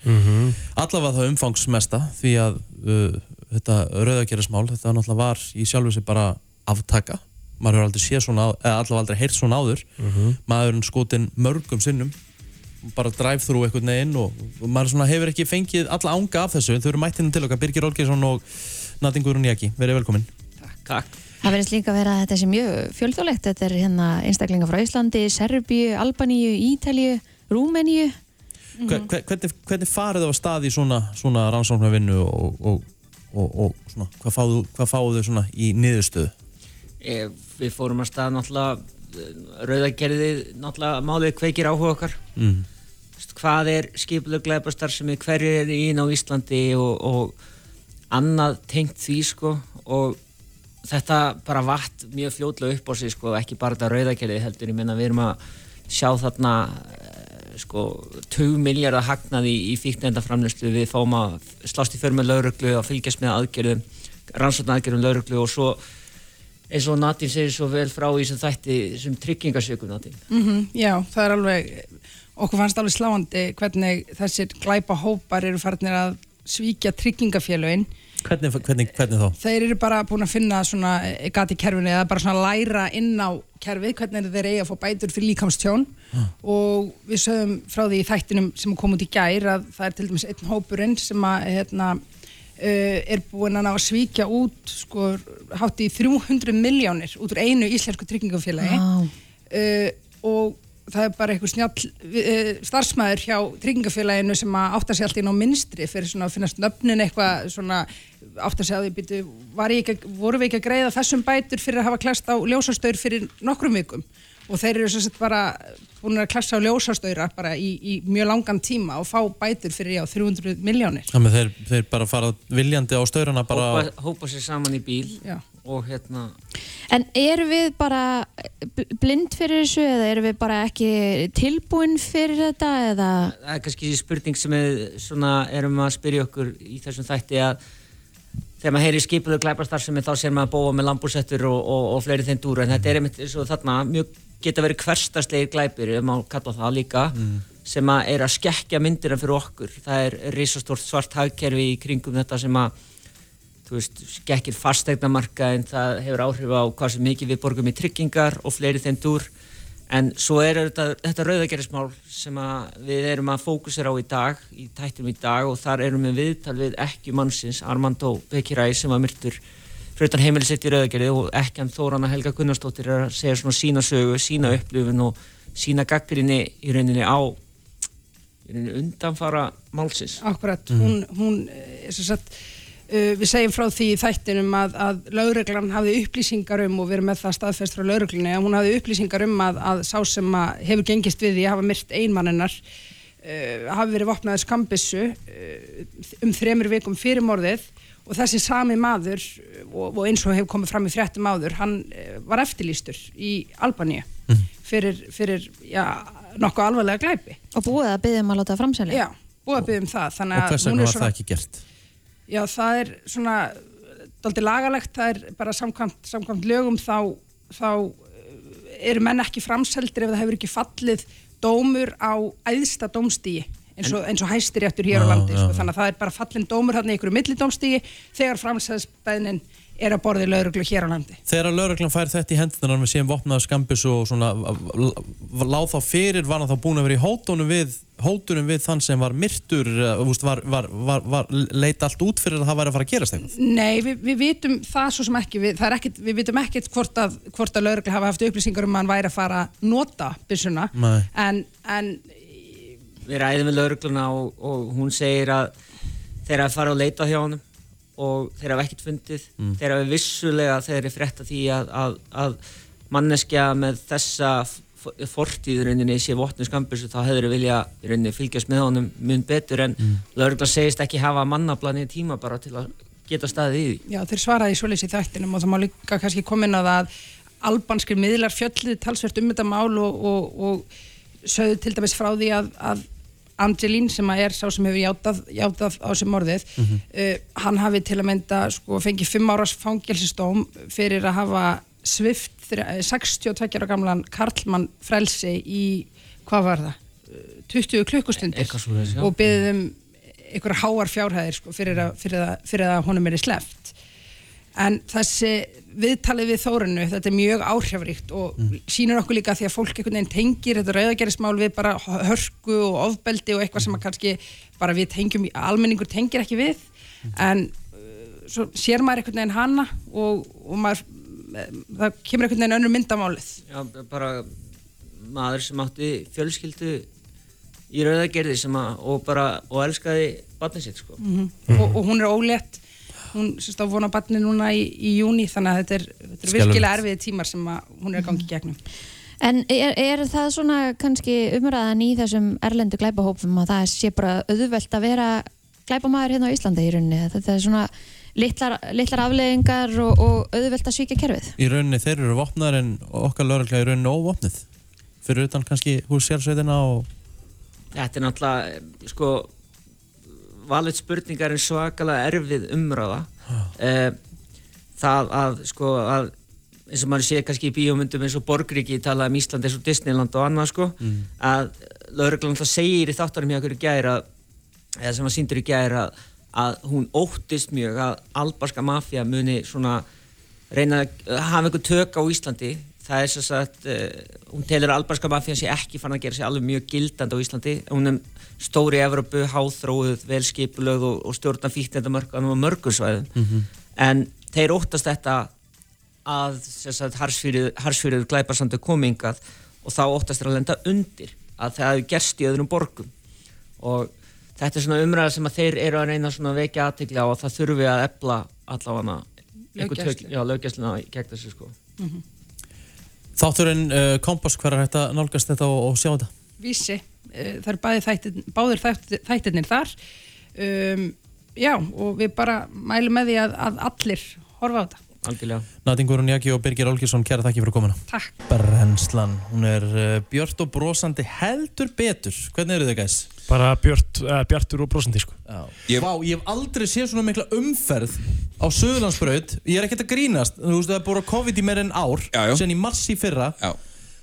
allavega það umfangsmesta því að uh, þetta rauðagerðismál þetta náttúrulega var í sjálfu sér bara aftaka maður hefur aldrei séð svona, á- eða allavega aldrei heyrt svona áður
Mhm.
maðurinn skotinn mörgum sinnum bara drive-thru einhvern veginn og og maður svona hefur ekki fengið alla ánga af þessu en þau eru mættinu til okkar, Birgir Olgersson og Nadine Guðrún Jaki, verið velkomin
Það verðist líka að vera að þetta sé mjög fjölþólegt. Þetta er hérna einstaklinga frá Íslandi, Serbíu, Albaníu, Ítalíu, Rúmeníu.
hver,
Mhm.
hver, hvernig, hvernig farið á stað í svona, svona rannsóknarvinnu og, og, og, og svona, hvað fáðu, hvað fáðu þau svona í niðurstöðu?
Eh, Við fórum að stað náttúrulega rauðagerði náttúrulega málið kveikir áhuga okkar mm. hvað er skipuleg glæpastarfsemi hverju er ín á Íslandi og, og annað tengt því sko og þetta bara vatt mjög fljótlega upp á sig sko ekki bara þetta rauðagerði heldur ég meina við erum að sjá þarna eh, sko 20 miljardar hagnaði í, í fíknendaframlöslu við fáum að slást í för með lauruglu og fylgjast með aðgerðum rannsóknar aðgerðum lauruglu og svo eins og Nadine segir svo vel frá í sem þætti sem tryggingasökum Nadine
Mhm, Já, það er alveg, okkur fannst alveg sláandi hvernig þessir glæpa hópar eru farnir að svíkja tryggingafélögin.
Hvernig, hvernig, hvernig þá?
Þeir eru bara búin að finna svona eh, gat í kerfinu eða bara svona læra inn á kerfið hvernig þeir eiga að fá bætur fyrir líkamstjón og við sögum frá því í þættinum sem kom út í gær að það er til dæmis einn hópurinn sem að hérna, uh, er búin að ná að svíkja út sko hátt í 300 miljónir út úr einu íslensku tryggingafélagi
Vá.
uh, og það er bara einhver snjall uh, starfsmæður hjá tryggingafélaginu sem að átta sig allt inn á minnstri fyrir svona að finnast nöfnin eitthvað svona átta sig að því býtu, var ég ekki, að- voru við ekki að greiða þessum bætur fyrir að hafa klast á ljósastaur fyrir nokkrum vikum og þeir eru sem sagt bara búin að klassa á ljósastaurar bara í, í mjög langan tíma og fá bætur fyrir já 300 miljónir
Þannig að þeir, þeir bara fara viljandi á staurana bara
hópa, hópa sér saman í bíl
Já.
og hérna
En erum við bara bl- blind fyrir þessu eða erum við bara ekki tilbúin fyrir þetta eða...
það er kannski spurning sem við svona erum að spyrja okkur í þessum þætti að þegar maður heyri skipuðu glæpastarfsemi þá sér maður að bóa með lambúsettur og, og, og fleiri þeim dúr en þetta er einmitt eins og þarna mjög geta verið hverstaslegir glæpir ef maður kalla það líka sem að er að skekkja myndirna fyrir okkur það er risastórt svart hagkerfi í kringum þetta sem að þú veist, skekkir fastegnamarka en það hefur áhrif á hvað sem mikið við borgum í tryggingar og fleiri þeim dúr en svo er þetta, þetta rauðagerðismál sem að við erum að fókusera á í dag, í tættum í dag og þar erum við viðtal við ekki mannsins Armando Bekiræ sem var myrtur fyrir utan heimilisitt í rauðagerði og ekki hann Þórana Helga Gunnarsdóttir er að segja svona sína sögu, sína upplifun og sína gaggrinni í rauninni á í rauninni undanfara málsins
Akkurat,
Mhm.
hún, hún eh, sem sagt, uh, við segjum frá því í þættinum að, að lauruglan hafði upplýsingar um og við erum með það staðfest frá lauruglunni að hún hafði upplýsingar um að, að sá sem að hefur gengist við því að hafa myrt einmanninnar uh, hafi verið vopnaður skambissu uh, um þremur vikum fyrir morðið og þessi sami maður eh, og, og eins og hefur komið fram í fréttum áður hann uh, var eftirlýstur í Albaníu
Mhm.
fyrir, fyrir já, nokkuð alvarlega glæpi
Og búið að byggja um að láta framselja
Já, búið að byggja um það þannig
Og
að
hvers
hún
vegna
er
var
svona-
það ekki gert?
Já, það er svona daldið lagalegt, það er bara samkvæmt, samkvæmt lögum þá, þá eh, eru menn ekki framseldir ef það hefur ekki fallið dómur á æðsta dómstígi eins og, eins og hæstiréttur hér á landi sko, þannig að það er bara fallin dómur þarna í einhverju millidómstígi þegar framseldsbæðnin er að borði lauruglu hér á landi
Þegar að lögreglan fær þetta í hendunar með síðan vopnaða skambis og svona láð þá fyrir, var hann þá búin að vera í hótunum við, hótunum við þann sem var myrtur, eh, þú veist, var, var, var, var leita allt út fyrir að það væri að fara að gerast eitthvað?
Nei, við, við vitum það svo sem ekki, við, það er ekkit, við vitum ekkit hvort að, hvort að lauruglu hafa haft upplýsingar um að hann væri að fara að nota byssuna
Nei.
en, en
við ræðum við laurugluna og, og hún segir að þeir hafa farið að leita hjá honum og þeir hafa ekkert fundið þeir hafa vissulega þeir eru frétta því að, að, að manneskja með þessa fortíðurinninni sé vopnum skambur þá hefur við vilja í rauninni fylgjast með honum mun betur en mm. laurugla segist ekki hafa mannablanið tíma bara til að geta staðið í því
Já, þeir svaraði svoleiðis í þættinum og það má líka kannski komin að að albanskir miðlar fjölluði talsvert um þetta mál og, og, og sögðu til dæmis frá því að, að Angelín sem að er sá sem hefur játað, játað á sem morðið, uh, hann hafi til að mynda sko, fengið fimm áras fangelsistóm fyrir að hafa svift eh, 62 ára gamlan Karlmann frelsi í, hvað var það? Eh, 20 klukkustundir
Eitthvað svoleiðis, já.
og beðið um einhverja háar fjárhæðir sko, fyrir, að, fyrir, að, fyrir að honum er í sleft en þessi viðtalið við Þórinu, þetta er mjög áhrifríkt og sýnir okkur líka því að fólk einhvern veginn tengir þetta rauðagerðismál við bara hörku og ofbeldi og eitthvað sem að kannski bara við tengjum, almenningur tengir ekki við en uh, svo sér maður einhvern veginn hana og, og maður, eh, það kemur einhvern veginn önnur myndamálið
Já, bara maður sem átti fjölskyldu í rauðagerði sem að, og bara, og elskaði barnið sitt
Mm.
sko
og, og hún er ólétt hún sérst á vona barni núna í, í júni þannig að þetta er, þetta er
Skelfilegt.
virkilega erfiði tímar sem að hún er að gangi í gegnum
En er, er það svona kannski umræðan í þessum erlendu glæpahópum að það sé bara auðvelt að vera glæpamaður hérna á Íslandi í rauninni þetta er svona litlar, litlar afleðingar og, og auðvelt að svíkja kerfið
Í rauninni þeir eru vopnar en okkar lögregla er í rauninni óvopnið fyrir utan kannski hús sérsveitina og
Þetta er náttúrulega, eh, sko, valið spurningar er svakalega erfið umræða. Eh, það að, sko, að eins og maður sé kannski í bíómyndum eins og Borgríki talað um Ísland eins og Disneyland og annað, sko,
Mhm.
að lauruglan alltaf segir í þáttunum hjá okkur í gær að, eða sem að síndur í gær að, að hún óttist mjög að albarska mafja muni svona reyna að hafa einhver tök á Íslandi það er sem sagt uh, hún telur að albanska mafían sé ekki fann að gera sér alveg mjög gildandi á Íslandi hún er stóri Evropu, háþróuð, velskipulög og, og stjórna fíknendamörkanum og mörgum svæðum en þeir óttast þetta að sem sagt, harsfyrir glæparsandu komingað og þá óttast þeir að lenda undir að það hefur gerst í öðrum borgum og þetta er svona umræða sem að þeir eru að reyna svona að vekja aðtegli á að það þurfi að efla allavega einhver tök-
Löggæslu.
já, löggæsluna í gegn þessu sko
Mhm.
þátturinn uh, Kompass hver er hægt að nálgast þetta og, og sjá þetta?
Vísi, eh, það er bæði þættir, báðir þættir, þættirnir þar um, já og við bara mælum með því að, að allir horfa á þetta
algjörlega
Nadingurinn Jaki og Birgir Olgjesson, kæra þakki fyrir komuna.
Takk.
Brennslan, hún er uh, björt og brosandi heldur betur. Hvernig eru þau gæs?
Bara björt, uh, bjartur og brosandi sko.
Já. Vá, ég hef aldrei séð svona mikla umferð á Suðurlandsbraut. Ég er ekkert að grínast. Þú veist, það er búin að COVID í meir en ár.
Já, já.
Sen í mars í fyrra.
Já.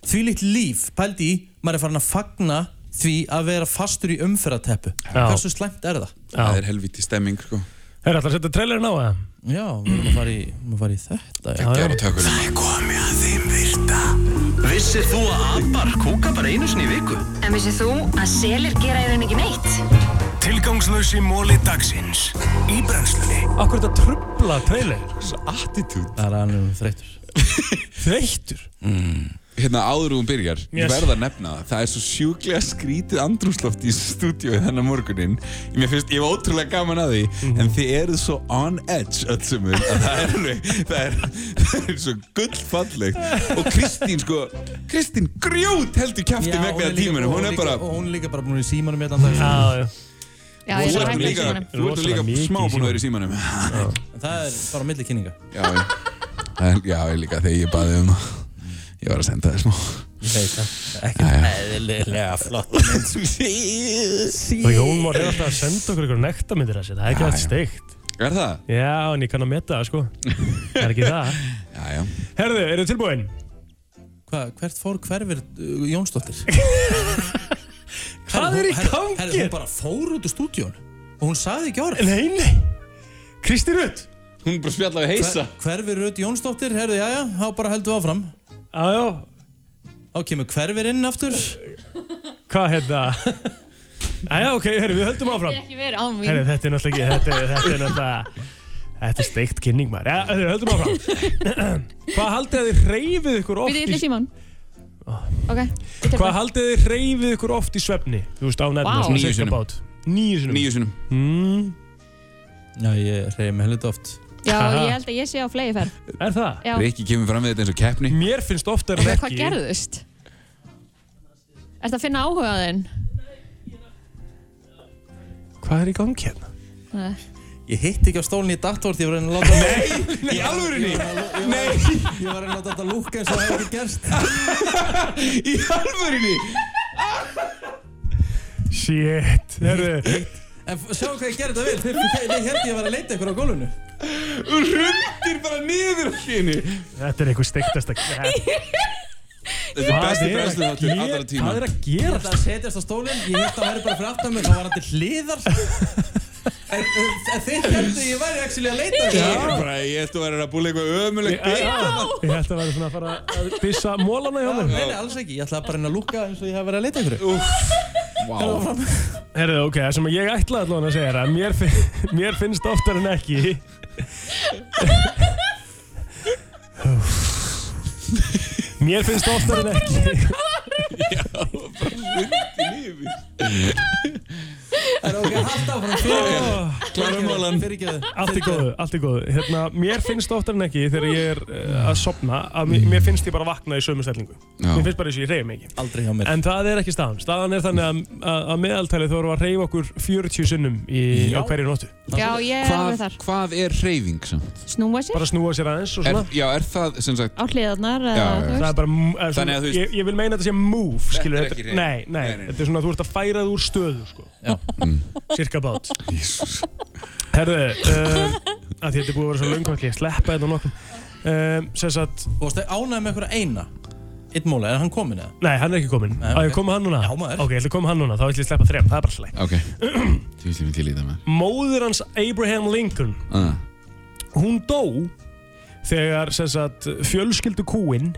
Því líkt líf, pældi í, maður er farin að fagna því að vera fastur í umferðateppu.
Já.
Hversu slæmt er það?
Það er helviti stemming sko
Herra, ætlar að setja trailerin á það?
Já, við erum að fara í, við erum að fara í þetta. Já,
Gjör á tökulum
Vissir þú að abar kúka bara einu sinni í viku?
En vissið þú að selir gera í raun ekki neitt?
Tilgangslösi móli dagsins í brennslunni.
Akkur er þetta trubla trailer?
Attitude
það er alveg þreytur.
Þreyttur?
mm.
hérna áður og hún byrjar, ég
Yes.
verða að nefna það það er svo sjúklega skrítið andrúsloft í stúdíói þennan morgunin mér finnst, ég var ótrúlega gaman að því en þið eruð svo on edge öll öllsumur að það er alveg það er, það er svo gullfallegt og Kristín sko Kristín grjót heldur kæfti vegna tímunum hún er bara
Og hún er líka bara búin í símanum hérna dag
Já, já
Já, ég er Þú ert hægt í líka- símanum. þú ert líka smá búin að vera í símanum.
Það er bara milli kynninga
já, ég, það er- já, ég líka þegar ég baði um það. ég var að senda þér smá
Ég veit
Já,
það, ekki
já.
eðlilega flott
Og Jón Már er alltaf að senda okkur ykkur nektarmyndir að sér, það er ekki alltaf steikt.
Er það?
Já, en ég kann að meta það sko. Það er ekki það.
já, já.
Herðu, eru tilbúin?
Hva, hvert fór hverfir uh, Jónsdóttir?
Hvað er í gangi?
Herri, hún bara fór út úr stúdíón og hún sagði ekki orð
Nei, nei Kristi Rutt
Hún bara spjallaði
við heisa Hverfir Rutt Jónsdóttir, herri, já, já, þá bara heldur við áfram
Já, já
Þá kemur hverfir inn aftur
Hvað hérna? Æja, ok, herru, við höldum áfram.
Ekki verið á mín
Herru, þetta er náttúrulega ekki, þetta, er- þetta er náttúrulega, þetta er steikt kynning maður. Já, herru, höldum áfram. Hvað haldið þið reyfið ykkur
Við
oft
erum í
í... Ah.
síman Ok, ég
Hvað haldið þið reyfið ykkur oft í svefni? Þú veist, á nærmina,
Vá.
svona
Níu
cirka
sinnum.
bát. Níu sinnum.
Níu sinnum.
Mm.
Já, ég reyði mig heldur oft
Já, ég held að ég sé á flegi ferð
Er það?
Já.
Rikki kemur fram við þetta eins og keppni
Mér finnst ofta
En Hvað gerðust? Ertu að finna áhuga á þinn?
Hvað er í gangi hérna?
Nei.
Ég hitt ekki á stólinn í dator því ég var að reyna að láta
Nei, í alvörunni?
Nei Ég var að reyna að láta þetta lúka eins og það hefði ekki gerst
Í alvörunni?
Shit, herru
En f- sjáum hvað ég gerði þetta vel Þeir þeir héldu ég var að leita ykkur á gólfinu
Rundir bara niður allinni
Þetta er eitthvað steiktasta
Þetta er besti brennsluþáttur allra tíma.
Hvað er að
Ég
gera?
ætlaði að setjast á stólinn Ég hitt að væri bara fyrir aftan mig Það var hann til hliðar En, en, en þeir héldu ég væri actually að leita
Ég
ykkur
er bara, ég ætti að vera að búla eitthvað ömuleg
Ég held að vera svona að fara að dissa mólana hjá
Nei, nei,
mér
alls ekki Ég ætlaði bara að reyna að lúka eins og ég hef verið að leita ykkur
Vá
Herðu, ok, það sem ég ætlaði allavega að segja er að mér, fin mér finnst oftar en ekki Mér finnst oftar en ekki
En ok, halda áfram
Klarmálan
Allt er góðu, allt er góðu Hérna, mér finnst oftar en ekki þegar ég er uh, að sopna að mér, mér finnst ég bara vakna í sömu stellingu
Já.
Mér finnst bara eins og ég reyði mikið
Aldrei hjá mér
En það er ekki staðan. Staðan er þannig að, að, að meðaltæli þú voru að reyfa okkur 40 sinnum í, á hverju nóttu.
Já, ég er alveg þar
Hvað er hreyfing samt?
Snúa sér
Bara snúa sér aðeins og
Er,
svona.
já, er það sem sagt
á hliðarnar
Já,
eða
já.
þú
það
veist
er bara, er,
Þannig að þú veist-
ég, ég vil meina þetta sé move, skilur.
Þetta er ekki hreyfing.
Nei, nei,
Nei, nei, nei.
þetta er svona að þú ert að færa þú úr stöðu, sko.
Já.
Cirka bát. Herðu, um, að þetta er búið að vera svo löngvægt, ég sleppa þetta á nokkrum. Um, sem sagt,
Þú veist, ánægði með einhverja eina Eitt móla, er hann komin eða?
nei, hann er ekki kominn.
Nei,
Á
ok.
ég að koma hann núna?
Já, maður.
Ok, ég ætla að koma hann núna, þá ætla ég að sleppa þrem, það er bara slæmt.
Ok Þú veist ég myndi líta með
Móður hans Abraham Lincoln
Ah.
hún dó þegar sem sagt, fjölskyldu kúinn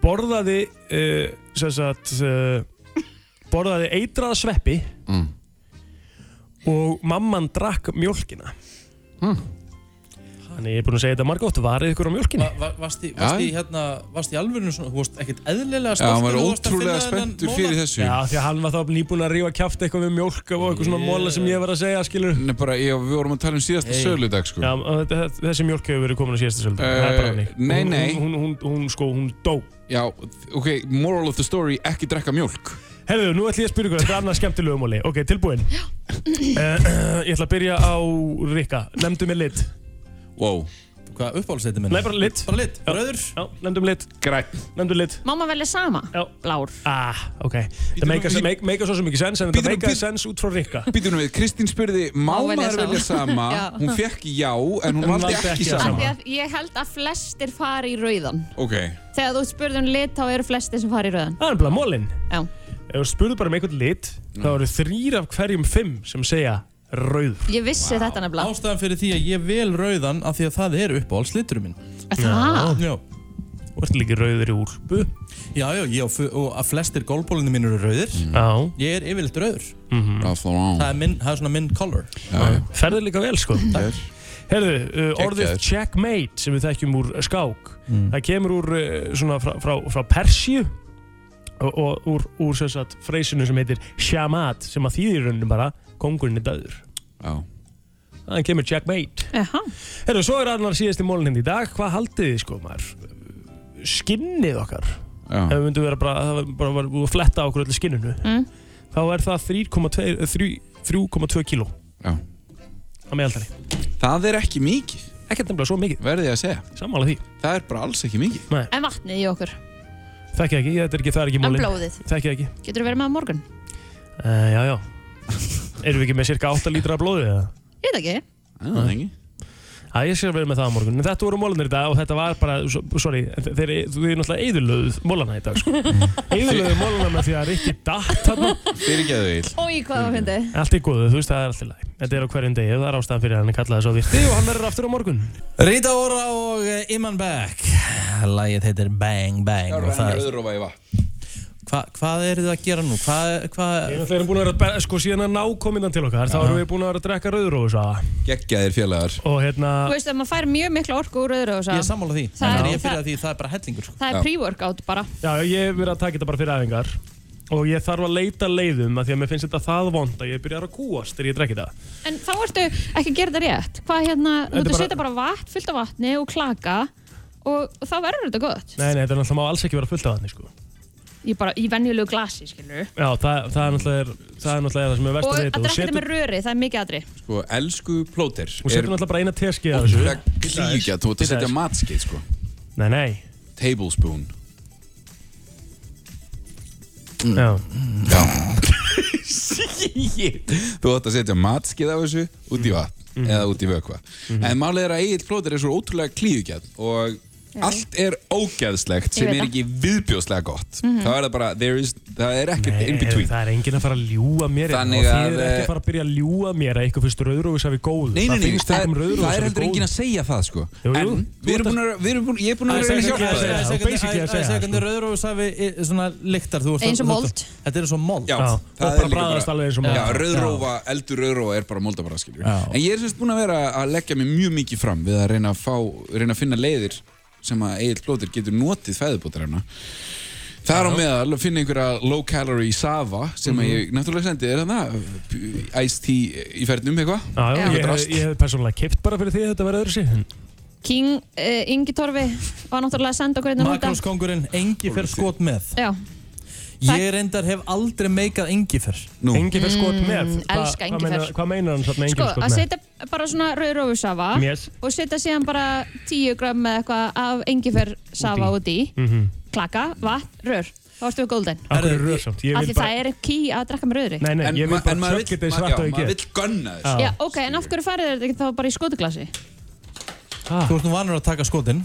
borðaði uh, sem sagt, uh, borðaði eitraða sveppi
Mm.
og mamman drakk mjólkina
Mm.
Þannig ég er búinn að segja þetta margótt, varðið ykkur á mjólkinni
Va, va, varst í, varst í,
Já.
hérna, varst í alvörinu svona, þú veist, ekkert eðlilega
Já, hann
stoltur
var
og þú varst að
ótrúlega
finna þennan
spenntur
mola?
fyrir þessu
Já, því að hann var þá nýbúinn að rífa kjáft eitthvað við mjólk og eitthvað svona móla sem ég var að segja, skilur
Ah. Nei, bara, ég, við vorum að tala um síðasta
Hey.
söludag sko
Já, og þetta- þetta- þessi mjólk hefur verið komin á síðasta söldu
Eh,
Það er bara hannig
nei,
Hún-
nei.
Hún, hún, hún, hún, sko, hún dó
Já, ok, moral of the story, ekki drekka mjólk
Herðu, nú ætlum ég að spyrja ykkur, þetta er annað skemmtilegu móli Ok, tilbúin uh, Ég ætla að byrja á Rikka Nemndu mér lit
Wow
Hvað uppáhaldsleiti minna?
Nei, bara lit
Bara lit, rauður
Já, nemndu mér lit
Græn
Nemndu lit
Má maður velja sama?
Já.
Blár
Ah, ok Það meika
bíddu,
make, make svo sem ekki sens En þetta
Bíddu,
meika
bíddu.
sens út frá Rikka
Býtum við, Kristín spurði, má
Má velja
maður velja
sama?
sama?
Já.
Hún fekk já, en hún
Hún
Um valdi
valdi
ekki
ekki
sama
Því að ég held að flestir fari í rauðan
Ok,
Þegar þú spurðum lit þá eru flestir sem fari í rauðan
Það er bara mólin
Já,
Ef þú spurðu bara um einhvern lit
Mm.
Þá eru þrýr af hverjum fimm sem segja rauður
ég vissi þetta nefnilega
Ástæðan fyrir því að ég vel rauðan af því að það er uppáhaldsleiturinn minn
Er Það?
Já,
Þú ert líka rauður í úlpu
já, já, ég og, fu- og að flestir gólbólunni mínur eru rauðir
Mm.
Já Mhm.
Ég er yfirleitt rauður
Mm.
Ralph Lauren
Það er, minn, það er svona minn color
Já, já.
Ferðu Eh, líka vel, sko
Takk.
Herðu, uh, orðið
Geggjaður. Mm.
checkmate sem við þekkjum úr eh, skák það kemur úr uh, svona frá, frá, frá Persíu og, og úr, úr sem sagt, freysinu sem heitir shamat sem að þýðir í rauninu bara kongurinn er döður
Já
Það kemur checkmate
Eha.
Herru, svo er annar síðasti mólinn hindi í dag Hvað haldið þið sko maður? Skinnið okkar
Já.
Ef við myndum vera bara, það var bara var, að fletta á okkur öllu skinninu
Mm.
Þá er það 3,2 eh, þrjú- 3,2 kíló
Já.
Á meðaldari
Það er ekki mikið
Ekkert nefnilega svo mikið
Verði ég að segja
Sammála því
Það er bara alls ekki mikið
Nei,
En vatnið í okkur,
þekki ekki, þetta er ekki, það er ekki
en
mólinn
blóðið
Þekki ekki
Getur þú verið með á morgun?
uh, Já, já Erum við ekki með cirka 8 lítra af blóði eða?
Ég veit ekki
Það er ekki
Já, ég sé að vera með það á morgun En þetta voru mólanir í dag og þetta var bara so- Sorry, en þe- þeir eru náttúrulega eðurlöðuð mólana í dag sko. Eðurlöðuð mólana með því að Rikki datt þarna
Fyrirgeðu Egil
Ói, hvað var fyndið?
Allt í góðu, þú veist, það er allt í lagi Þetta er á hverjum degi, það er ástæðan fyrir að hann kallaði svo því Þið og hann verður aftur á morgun
Rita Ora og eh, Iman Beck Lægið heitir Bang Bang og það er-
öðru og væfa
Hva, Hvað eru þið að gera nú? Hvað, hvað
Þeir eru búin að vera, að be- sko, síðan að ná komindan til okkar Þá erum við búin að vera að drekka rauðrófus
Geggjaðir félagar
Og hérna,
Þú veist, ef maður fær mjög mikla orku úr öðru og
Ég er sammála því,
Það
það er,
er-
ég fyrir
það-
að því það er bara hellingur sko.
Það er pre-workout bara
já, ég hef verið að taka þetta bara fyrir æfingar Og ég þarf að leita leiðum að Því að mér finnst þetta það vond að ég byrjar að kúast þegar ég drekki það
En þá ertu ekki að gera þetta rétt Hvað hérna, þú ert
Þetta
að
bara-
setja bara vatn fullt af vatni og klaka og, og þá verður þetta gott
Nei, nei, þetta er náttúrulega má alls ekki vera fullt af þarna, sko.
Ég bara, í venjulegu glasi, skilur
Já, það, það er náttúrulega er- það er náttúrulega það sem er
Og
verst að
að
vita
drekka þetta með röri, það er mikið aðri
Sko, elsku plóter
Hún setur náttúrulega bara eina teskeið af þessu
Klíkja, þú ert að setja matskeið sko
Nei, nei
Tablespoon
Mm. Já
Já Þú ætti að setja matskið af þessu út
Mm.
í vatn eða út í vökva en málið er að Egil Plóter er svo ótrúlega klíðugjæð og allt er ógæðslegt sem
Ég veit
er
það.
ekki viðbjóðslega gott
Mhm.
þá er það bara, there is, það er ekkert in between
það er enginn að fara að ljúa mér
Þannig
Þannig að
að,
Þið er ekki að fara að byrja að ljúa mér að ykkur finnst rauðrófis af í góðu
Nei, nei, nei,
finnst
það,
engum
er, það
rauðrófis
er
af í
heldur enginn
góðu.
að segja það sko
Jú, jú.
En við erum búin að, við erum búin, ég er búin
Æ,
að vera að
segðu-
hjálpa
segðu-
þér
segðu-
basically
æ,
að
æ,
segja sko.
segðu
það,
hvernig rauðrófsafi eh, svona lyktar þú veist
Eins og
þú- þú-
mold.
Þetta er eins og mold
Já,
Og bara bragðast alveg eins og mold.
Já,
Já.
rauðrófa, eldur rauðrófa er bara moldabara skilur En ég er semst búin að vera að leggja mig mjög mikið fram við að reyna að, fá, reyna að finna leiðir sem að Egil Blóter getur notið fæðubótar hérna Það er á meðal að finna einhverja low calorie sava sem
Mhm.
að ég náttúrulega sendi þér þarna Ice tea í fernum eitthvað
Já, já,
Eitthvað
ég hef-
drasl.
ég hef persónulega kipt bara fyrir því að þetta verður öðru
King uh, Ingi Torfi var náttúrulega að senda okkur hérna einnig
Makróskongurinn, engi fer skot með
Já,
Ég reyndar hef aldrei meikað engifer
Nú.
Engifer skot með
Mm,
Hva-
elska
hvað
engifer.
meinar- Hvað meinar hann satt með
sko,
engifer skot
að
með? Mm,
setja bara svona rauðrófusafa
Yes.
og setja síðan bara 10 gram með eitthvað af engifersafa út í
Mhm.
klaka, vatn, rör Þá ertu við golden
Af hverju er rör samt? Ég
Af
vil
því
bara-
það er ký að drekka með rauðri
Nei, nei, ég vil
ma- en
bara
maður vill-
tjökkið þeir
ma-
svart
já,
og
maður
ekki
vill gunna
Já.
Já, ok, en af hverju farið þetta ekki þá bara í skotuglasi?
Ah.
Þú ert nú vanur að taka skotin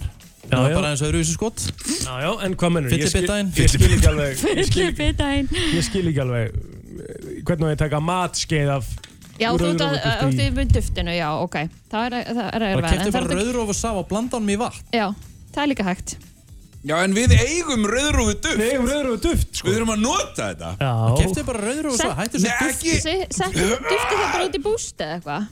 Já,
Það
já.
er bara eins og öðruvísi skot
Já, já, en hvað mennur?
Fyllibitainn.
Ég skil ekki alveg ég skil-
Fyllibitaðinn
Ég skil ekki alveg eh, Hvernig á ég að taka matskeið af
Já, þú ert að- þú
rauðrófugulti í?
ert með duftinu, já, ok Það er það er
Bara
að vera
keftu bara rauðróf og saf og blanda honum í vatn
Já, það er líka hægt
Já, en við eigum rauðrófu duft Við
eigum rauðrófu duft sko
Við þurfum að nota þetta
Já.
Keftu bara rauðróf og saf, hættu
Nei,
svo
ekki-
Settu dufti það bara út í bústi eða eitthvað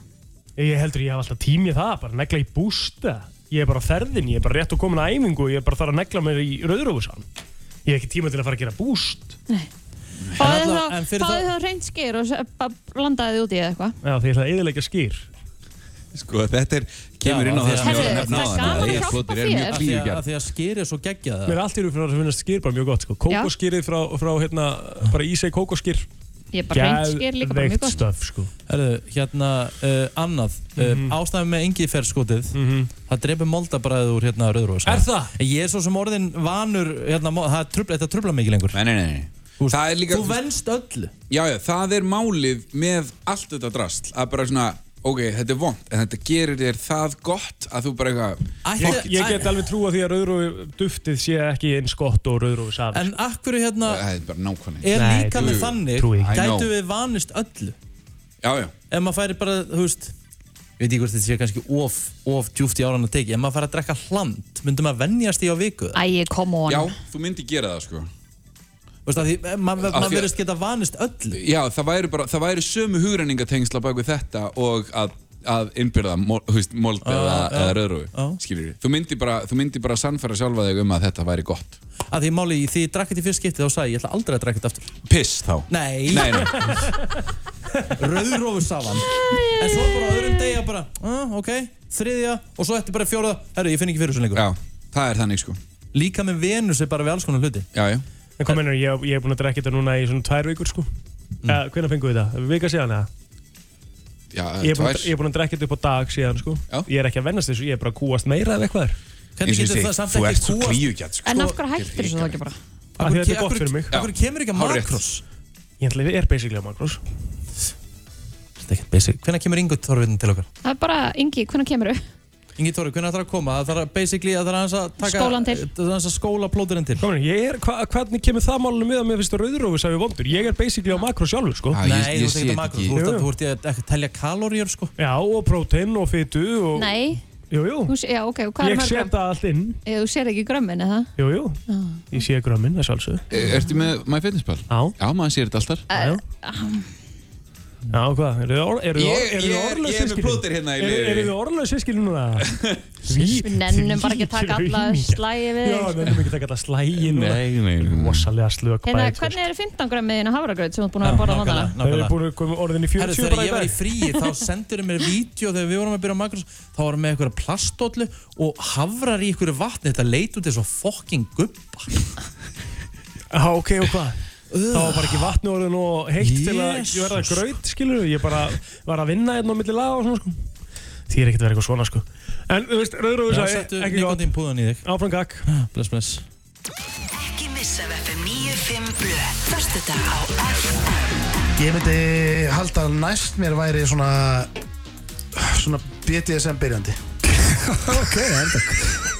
Ég heldur ég hef alltaf tími í það, bara negla í bústa Ég er bara á ferðin, ég er bara rétt og komin að æfingu og Ég er bara þar að negla mér í rauðrófusan Ég hef ekki tíma til að fara að gera búst
Fáðu
alla-
þá,
en fyrir
fáðu þá reynd skyr og se- bara blandaði þið út í eða eitthvað
Já, því ég ætla að eðilegja skýr
Sko, þetta er, kemur inn á það sem ég var að nefna á þannig að Egil Plóter er mjög klíðugjæð
Því að skýri svo geggja
Mér er allt í raun fyrir að finnast skýr bara mjög gott sko. Kókoskýrið frá, frá hérna, bara íseg kókoskýr
Ég er bara reynd skyr líka bara mjög
Geðveikt
gott
stöf, sko.
Herðu, hérna, uh, annað mm
Mhm.
Ástæðum með engifer skotið Það drefur moldabræðið úr hérna rauðróf
Er það?
Ég er svo sem orðin vanur hérna, mo- það trubla, Þetta trubla mikið lengur
Nei, nei, nei Úst, Það er líka
Þú venst öllu
Já, já, það er málið með allt þetta drasl að bara svona, ok, þetta er vond en þetta gerir þér það gott að þú bara eitthvað
Ég, ég get alveg trúa því að rauðrófi duftið sé ekki eins gott og rauðrófi safi
En akkur hérna
Það er bara nákvæmlega
Er
Nei,
líka
trúi-
með þannig
trúi ekki.
Gætu
I know.
við vanist öllu
Já, já
Ef maður færi bara, þú veist Ég veit ekki hvort þetta sé kannski of, of djúft í áran að teki Ef maður færi að drekka hland Myndum maður venjast í á viku
Æi, come on
Já, þú myndir gera það, sko
Þú veist að því, eh, maður
Af
ma
því að-
verðist geta vanist öllu
Já, það væri bara, það væri sömu hugrenningatengsla bak við þetta og að að innbyrða mol- þú veist, mold
Ah,
Já,
eða,
já,
eða röðrúi skilur þú myndir bara, þú myndir bara sannfæra sjálfa þig um að þetta væri gott
að því máli því ég drakk þetta í fyrst skipti þá sagði ég, ég ætla aldrei að drakka þetta aftur
piss þá
nei,
Nei, nei.
rauðrófur safan en svo bara á öðrum degi að bara ah, ok, þriðja og svo eftir bara fjóraða herru, ég finn ekki fyrir svo lengur
já, það er þannig sko
líka með venur sig bara við alls konar hluti
já, já
En hvað mennur, ég, ég er búin að drekja þetta núna í svona tvær vikur sko mm. eh, Hvernig fengum við það? Vika síðan eða?
já,
Ég er búin að,
Eh, tvær.
ég er búin að drekja þetta upp á dag síðan sko já. Ég er ekki að vennast þessu, ég er bara að kúast meira eða eitthvað er.
Hvernig Eins og ég getur segi, það samt þú ekki ert svo kúgast- kríugjat, sko. En af hverju hættirðu svo þá ekki bara?
Af því að þetta er
Af
gott
hverju-
fyrir mig
af hverju kemur ekki að
Hárrétt.
makros?
Ég ætla að ég er basically á makros
hvernig kemur Ingo Þorfinn til okkar?
Það er bara, Ingi, hvernig kemur þau?
Ingi Þorfinn, hvernig ætlar að koma? Það þarf að- basically að það er aðeins að taka
Skólan til.
það er aðeins að skóla plóturinn til
Komin, ég er, hva, hvernig kemur það málunum við að mér finnst að rauðrófi sæfi vondur? Ég er basically á makro sjálfur, sko.
Nei, þú ert ekki að makros, þú ert að- þú ert ekki að telja kaloríur, sko.
Já, og prótein og fytu og...
Nei,
Jú, jú.
þú, sé- já, ok, og hvað er
Ég
mörg
set
grömm?
það allt inn.
Eh, Þú sér ekki grömmin, eða?
Jú, jú. Ég sé grömmin, það sjálfsög.
Ertu með MyFitnessPal?
Já.
Já, maður sér þetta alltaf.
Ah.
Já, Já, hvað? Eru þið or- eru þið or-
Ég-
eru þið
ég er-
orðlaus
ég er með
systkini?
plótir hérna í
Eru-
liðinu.
Eru þið orðlaus sískilin núna?
Við nennum bara ekki að taka alla slægi við
Já,
þig, sko.
nennum ekki að taka alla slægin. Nei, nei. Rosalega slög
Hérna,
bæði.
hvernig eru 15 grömmiðin að hafragraut sem þú ert búin að borða á hana?
sko. Þau eru búin að koma orðin í 40
Herru, þegar
bara í
ég var í
dag.
fríi þá sendur mér vídeo þegar við vorum að byrja á makros þá varum með einhverja plastdóllu og hafrar í einhverju vatni þetta leit út eins og fokking gubba
Já, ok, og hvað? Það var bara ekki vatni orðið nú heitt til að
Jesus.
verða gröyt, skilur Ég bara var að vinna hérna á milli laga og svona, sko Því er ekkert að vera eitthvað svona, sko En, þú veist, Rauðrúður
Já,
sagði,
settu
ekki gott
nikotínpúðann í þig
Áfram gakk
Bless, bless
Ekki missa af FM 95 Blöð Förstu dag á FM
Ég myndi halda að næst mér væri svona svona BDSM byrjandi Ok,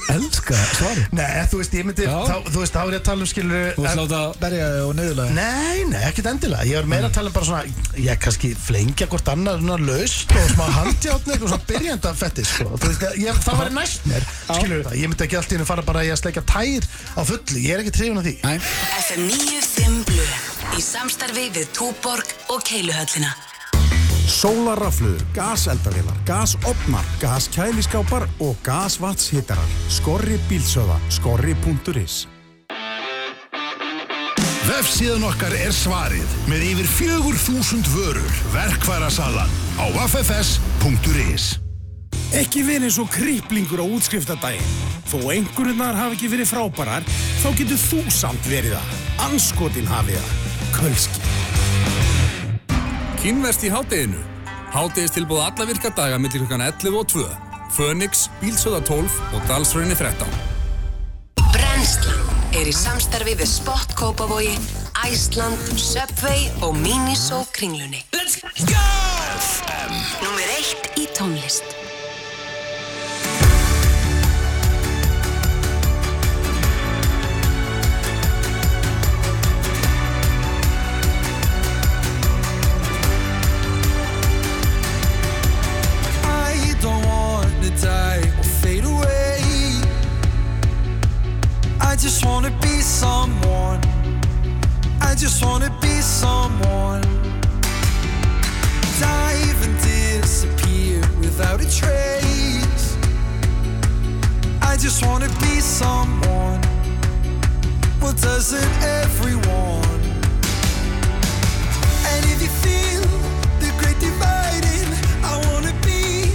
elska svari Nei, þú veist, ég myndi,
Já.
þá, þú veist, þá er ég að tala um skilur
Þú ert láta berja þig og nöðulega
Nei, nei, ekkert endilega Ég var meira að tala um bara svona Ég kannski flengja hvort annað svona laust og smá handjátni og svona byrjanda fetti sko. Þú veist, ég, Það var næst mér Skilur það, ég myndi ekki allt í henni fara bara í að sleika tær á fullu, ég er ekki trefin af því
Nei.
FM 95 Blöð Í samstarfi við Túborg og Keiluhöllina
Sólarraflur, gaseldavélar, gasopnar, gaskæliskápar og gasvatshittarar. Skorri bílsöða, skorri.is
Vefsíðan okkar er svarið með yfir 4000 vörur verkværasalan á ffs.is
Ekki verið eins og krýplingur á útskriftadaginn. Þó einhverjurnar hafi ekki verið frábærar, þá getur þú samt verið það. Anskotin hafið það. Kölski.
Kínverst í hátteginu. Háttegis tilbúð alla virka daga millir klukkan 11 og 2. Fönix, Bílsöða 12 og Dalsröðinni 13.
Brennslan er í samstarfi við Spott Kópavogi Æsland, Subway og Miniso kringlunni Let's go! FM Númer 1 í tónlist
I don't want to die or fade away. I just want to be someone. I just want to be someone. Dive and disappear without a trace. I just want to be someone. Well, doesn't everyone? And if you feel the great dividing, I wanna be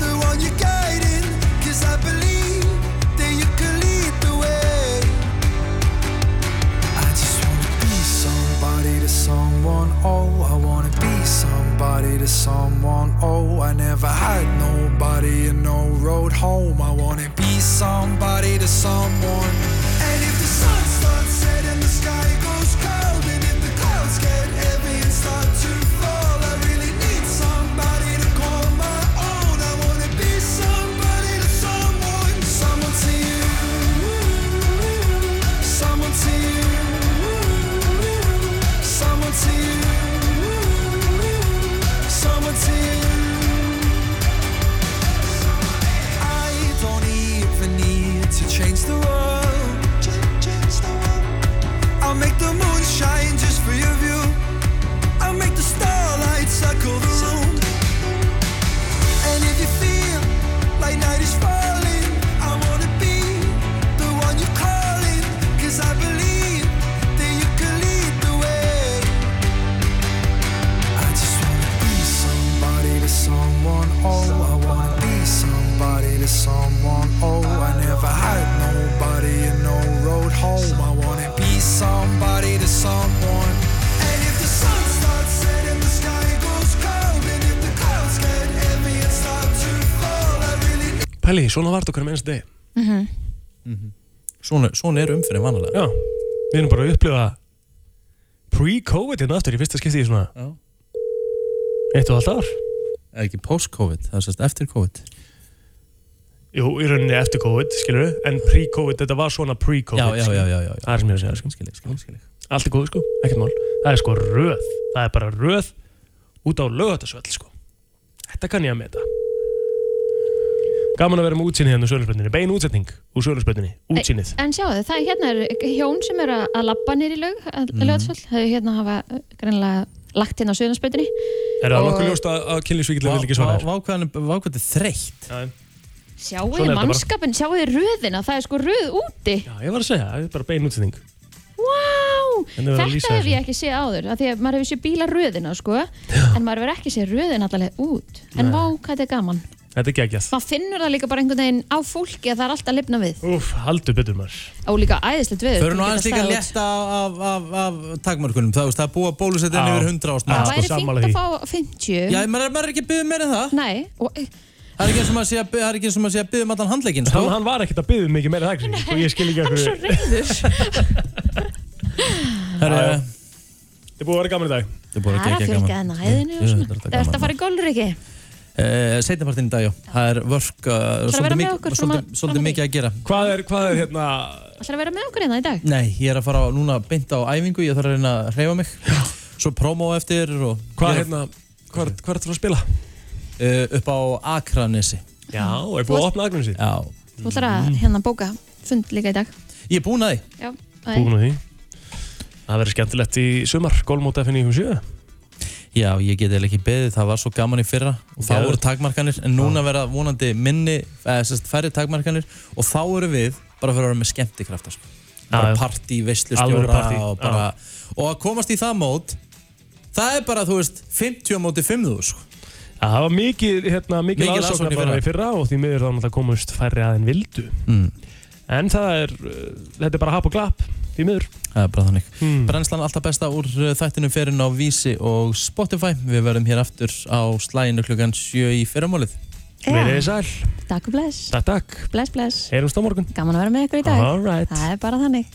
the one you're guiding. Cause I believe that you can lead the way. I just wanna be somebody to someone, oh. I wanna be somebody to someone, oh. I never had nobody and no road home. I wanna be somebody to someone. And if the sun starts setting, the sky goes cold. And if the clouds get heavy and start to fall, I really need somebody to call my own. I wanna be somebody to someone, someone to you, someone to you, someone to you, someone to you. I don't even need to change the world. I'll make the moon shine oh, oh,
Pæli, svona var þetta okkar með einstu degi
Mhm.
svona, svona er umfyrir vanalega Já, við erum bara að upplifa pre-covid hérna aftur í fyrsta skipti í svona Já. Eitt og allt ár
Eða ekki post-covid, það er sérst eftir covid
Jú, í rauninni eftir COVID, skilur við En pre-COVID, þetta var svona pre-COVID
Já, já,
skilurðu.
já, já, já.
Það er sem ég er að segja, skilur Skilur, skilur, skilur Allt er góð, sko, ekkert mál Það er sko röð, það er bara röð Út á lögatasvöll, sko Þetta kann ég að meta Gaman að vera með útsýni hérna úr sölurspenninni Bein útsetning úr sölurspenninni, útsýnið
En sjáu þið, það er hérna er hjón sem eru að- að labba nýri lög, að
Mhm.
mm. lögatsvöld, þau hérna hafa eh, greinilega lagt inn á suðunarspöytinni.
Er það nokkuð ljóst að, að kynlífsvíkilega vil ekki svara þér?
Vákvæðan er þreytt
Já,
Sjáu
Svona er
þið
þetta bara.
mannskapin, sjáu þið röðina, það er sko röð úti.
Já, ég var að segja, það er bara bein útsetning
Vá,
En þau verða að lýsa
þetta hef
þessu.
ég ekki séð áður, af því að maður hefur séð bíla röðina, sko, en maður hefur ekki séð röðina allalega út. En
Nei.
vá, hvað þetta er gaman.
Þetta er geggjað
Maður finnur það líka bara einhvern veginn á fólki að það er alltaf að lifna við.
Úf, haldur betur maður
Og líka æðislegt við.
Förum nú aðeins líka létta af, af, af, af takmörkunum Það, þú veist, það er búið að bólusetja
Já.
yfir 100 ást
Það
Sko,
væri fínt að fá 50.
Já, maður, er- maður er ekki að byggja meira en það
Nei, og
Það er ekki eins og maður sé að bið- það er ekki eins og maður sé að byggja um allan handleikinn sko.
Hann, hann var ekkert að byggja mikið meira það Kristín, Og ég skil ekki að hverju
Herru,
Þetta er búið að vera gaman í dag
Það er búið
það er að fylgja henn að hæðinu hérna og svona. Það ert að fara í gólur ekki.
Seinnapartin Eh, í dag, já Það er vörk uh,
að vera
svolítið
með
mikið-
okkur fram að-
svolítið- Svolítið mikið að gera
Hvað er, hvað er hérna
Það er að vera með okkur hérna í dag.
Nei, ég er að fara á- núna beint á æfingu Ég þarf að reyna að hreyfa mig Svo promo eftir og
Hvað hérna, hvað er þetta að spila?
Uh, upp á Akranesi
Já, er búið að opna Akranesi?
Já
Þú ætlar að hérna bóka fund líka í dag.
Ég er búin að því
Já, það er-
Búin að því Það verður skemmtilegt í sumar Gólmóta FN í um sjö
Já, ég get eða ekki beðið, það var svo gaman í fyrra og þá
Geðveikt.
voru takmarkanir, en núna verða vonandi minni, eða sérst færri takmarkanir og þá eru við bara fyrir að vera með skemmtikrafta sko. bara
Já, já.
partí,
Alvöru
veislustjóra
partí,
og bara, og að komast í það mót það er bara, þú veist, 50 á móti 5000 sko.
Já, það var mikið, hérna, mikið,
Mikil
mikið
aðsókn í
aðsókn bara
fyrra.
í fyrra og því miður þá náttúrulega komust færri aðeins vildu mm. En það er, uh, þetta er bara hap og glapp Því miður Hmm.
Það er bara þannig. Brennslan alltaf besta úr uh, þættinum ferinn á Vísi og Spotify við verðum hér aftur á slæginu klukkan 7 í fyrramálið
Já. Verið þið
sæl
Takk og bless.
Takk, takk
Bless, bless.
Heyrumst á morgun
Gaman að vera með ykkur í dag.
Alright.
Það er bara þannig.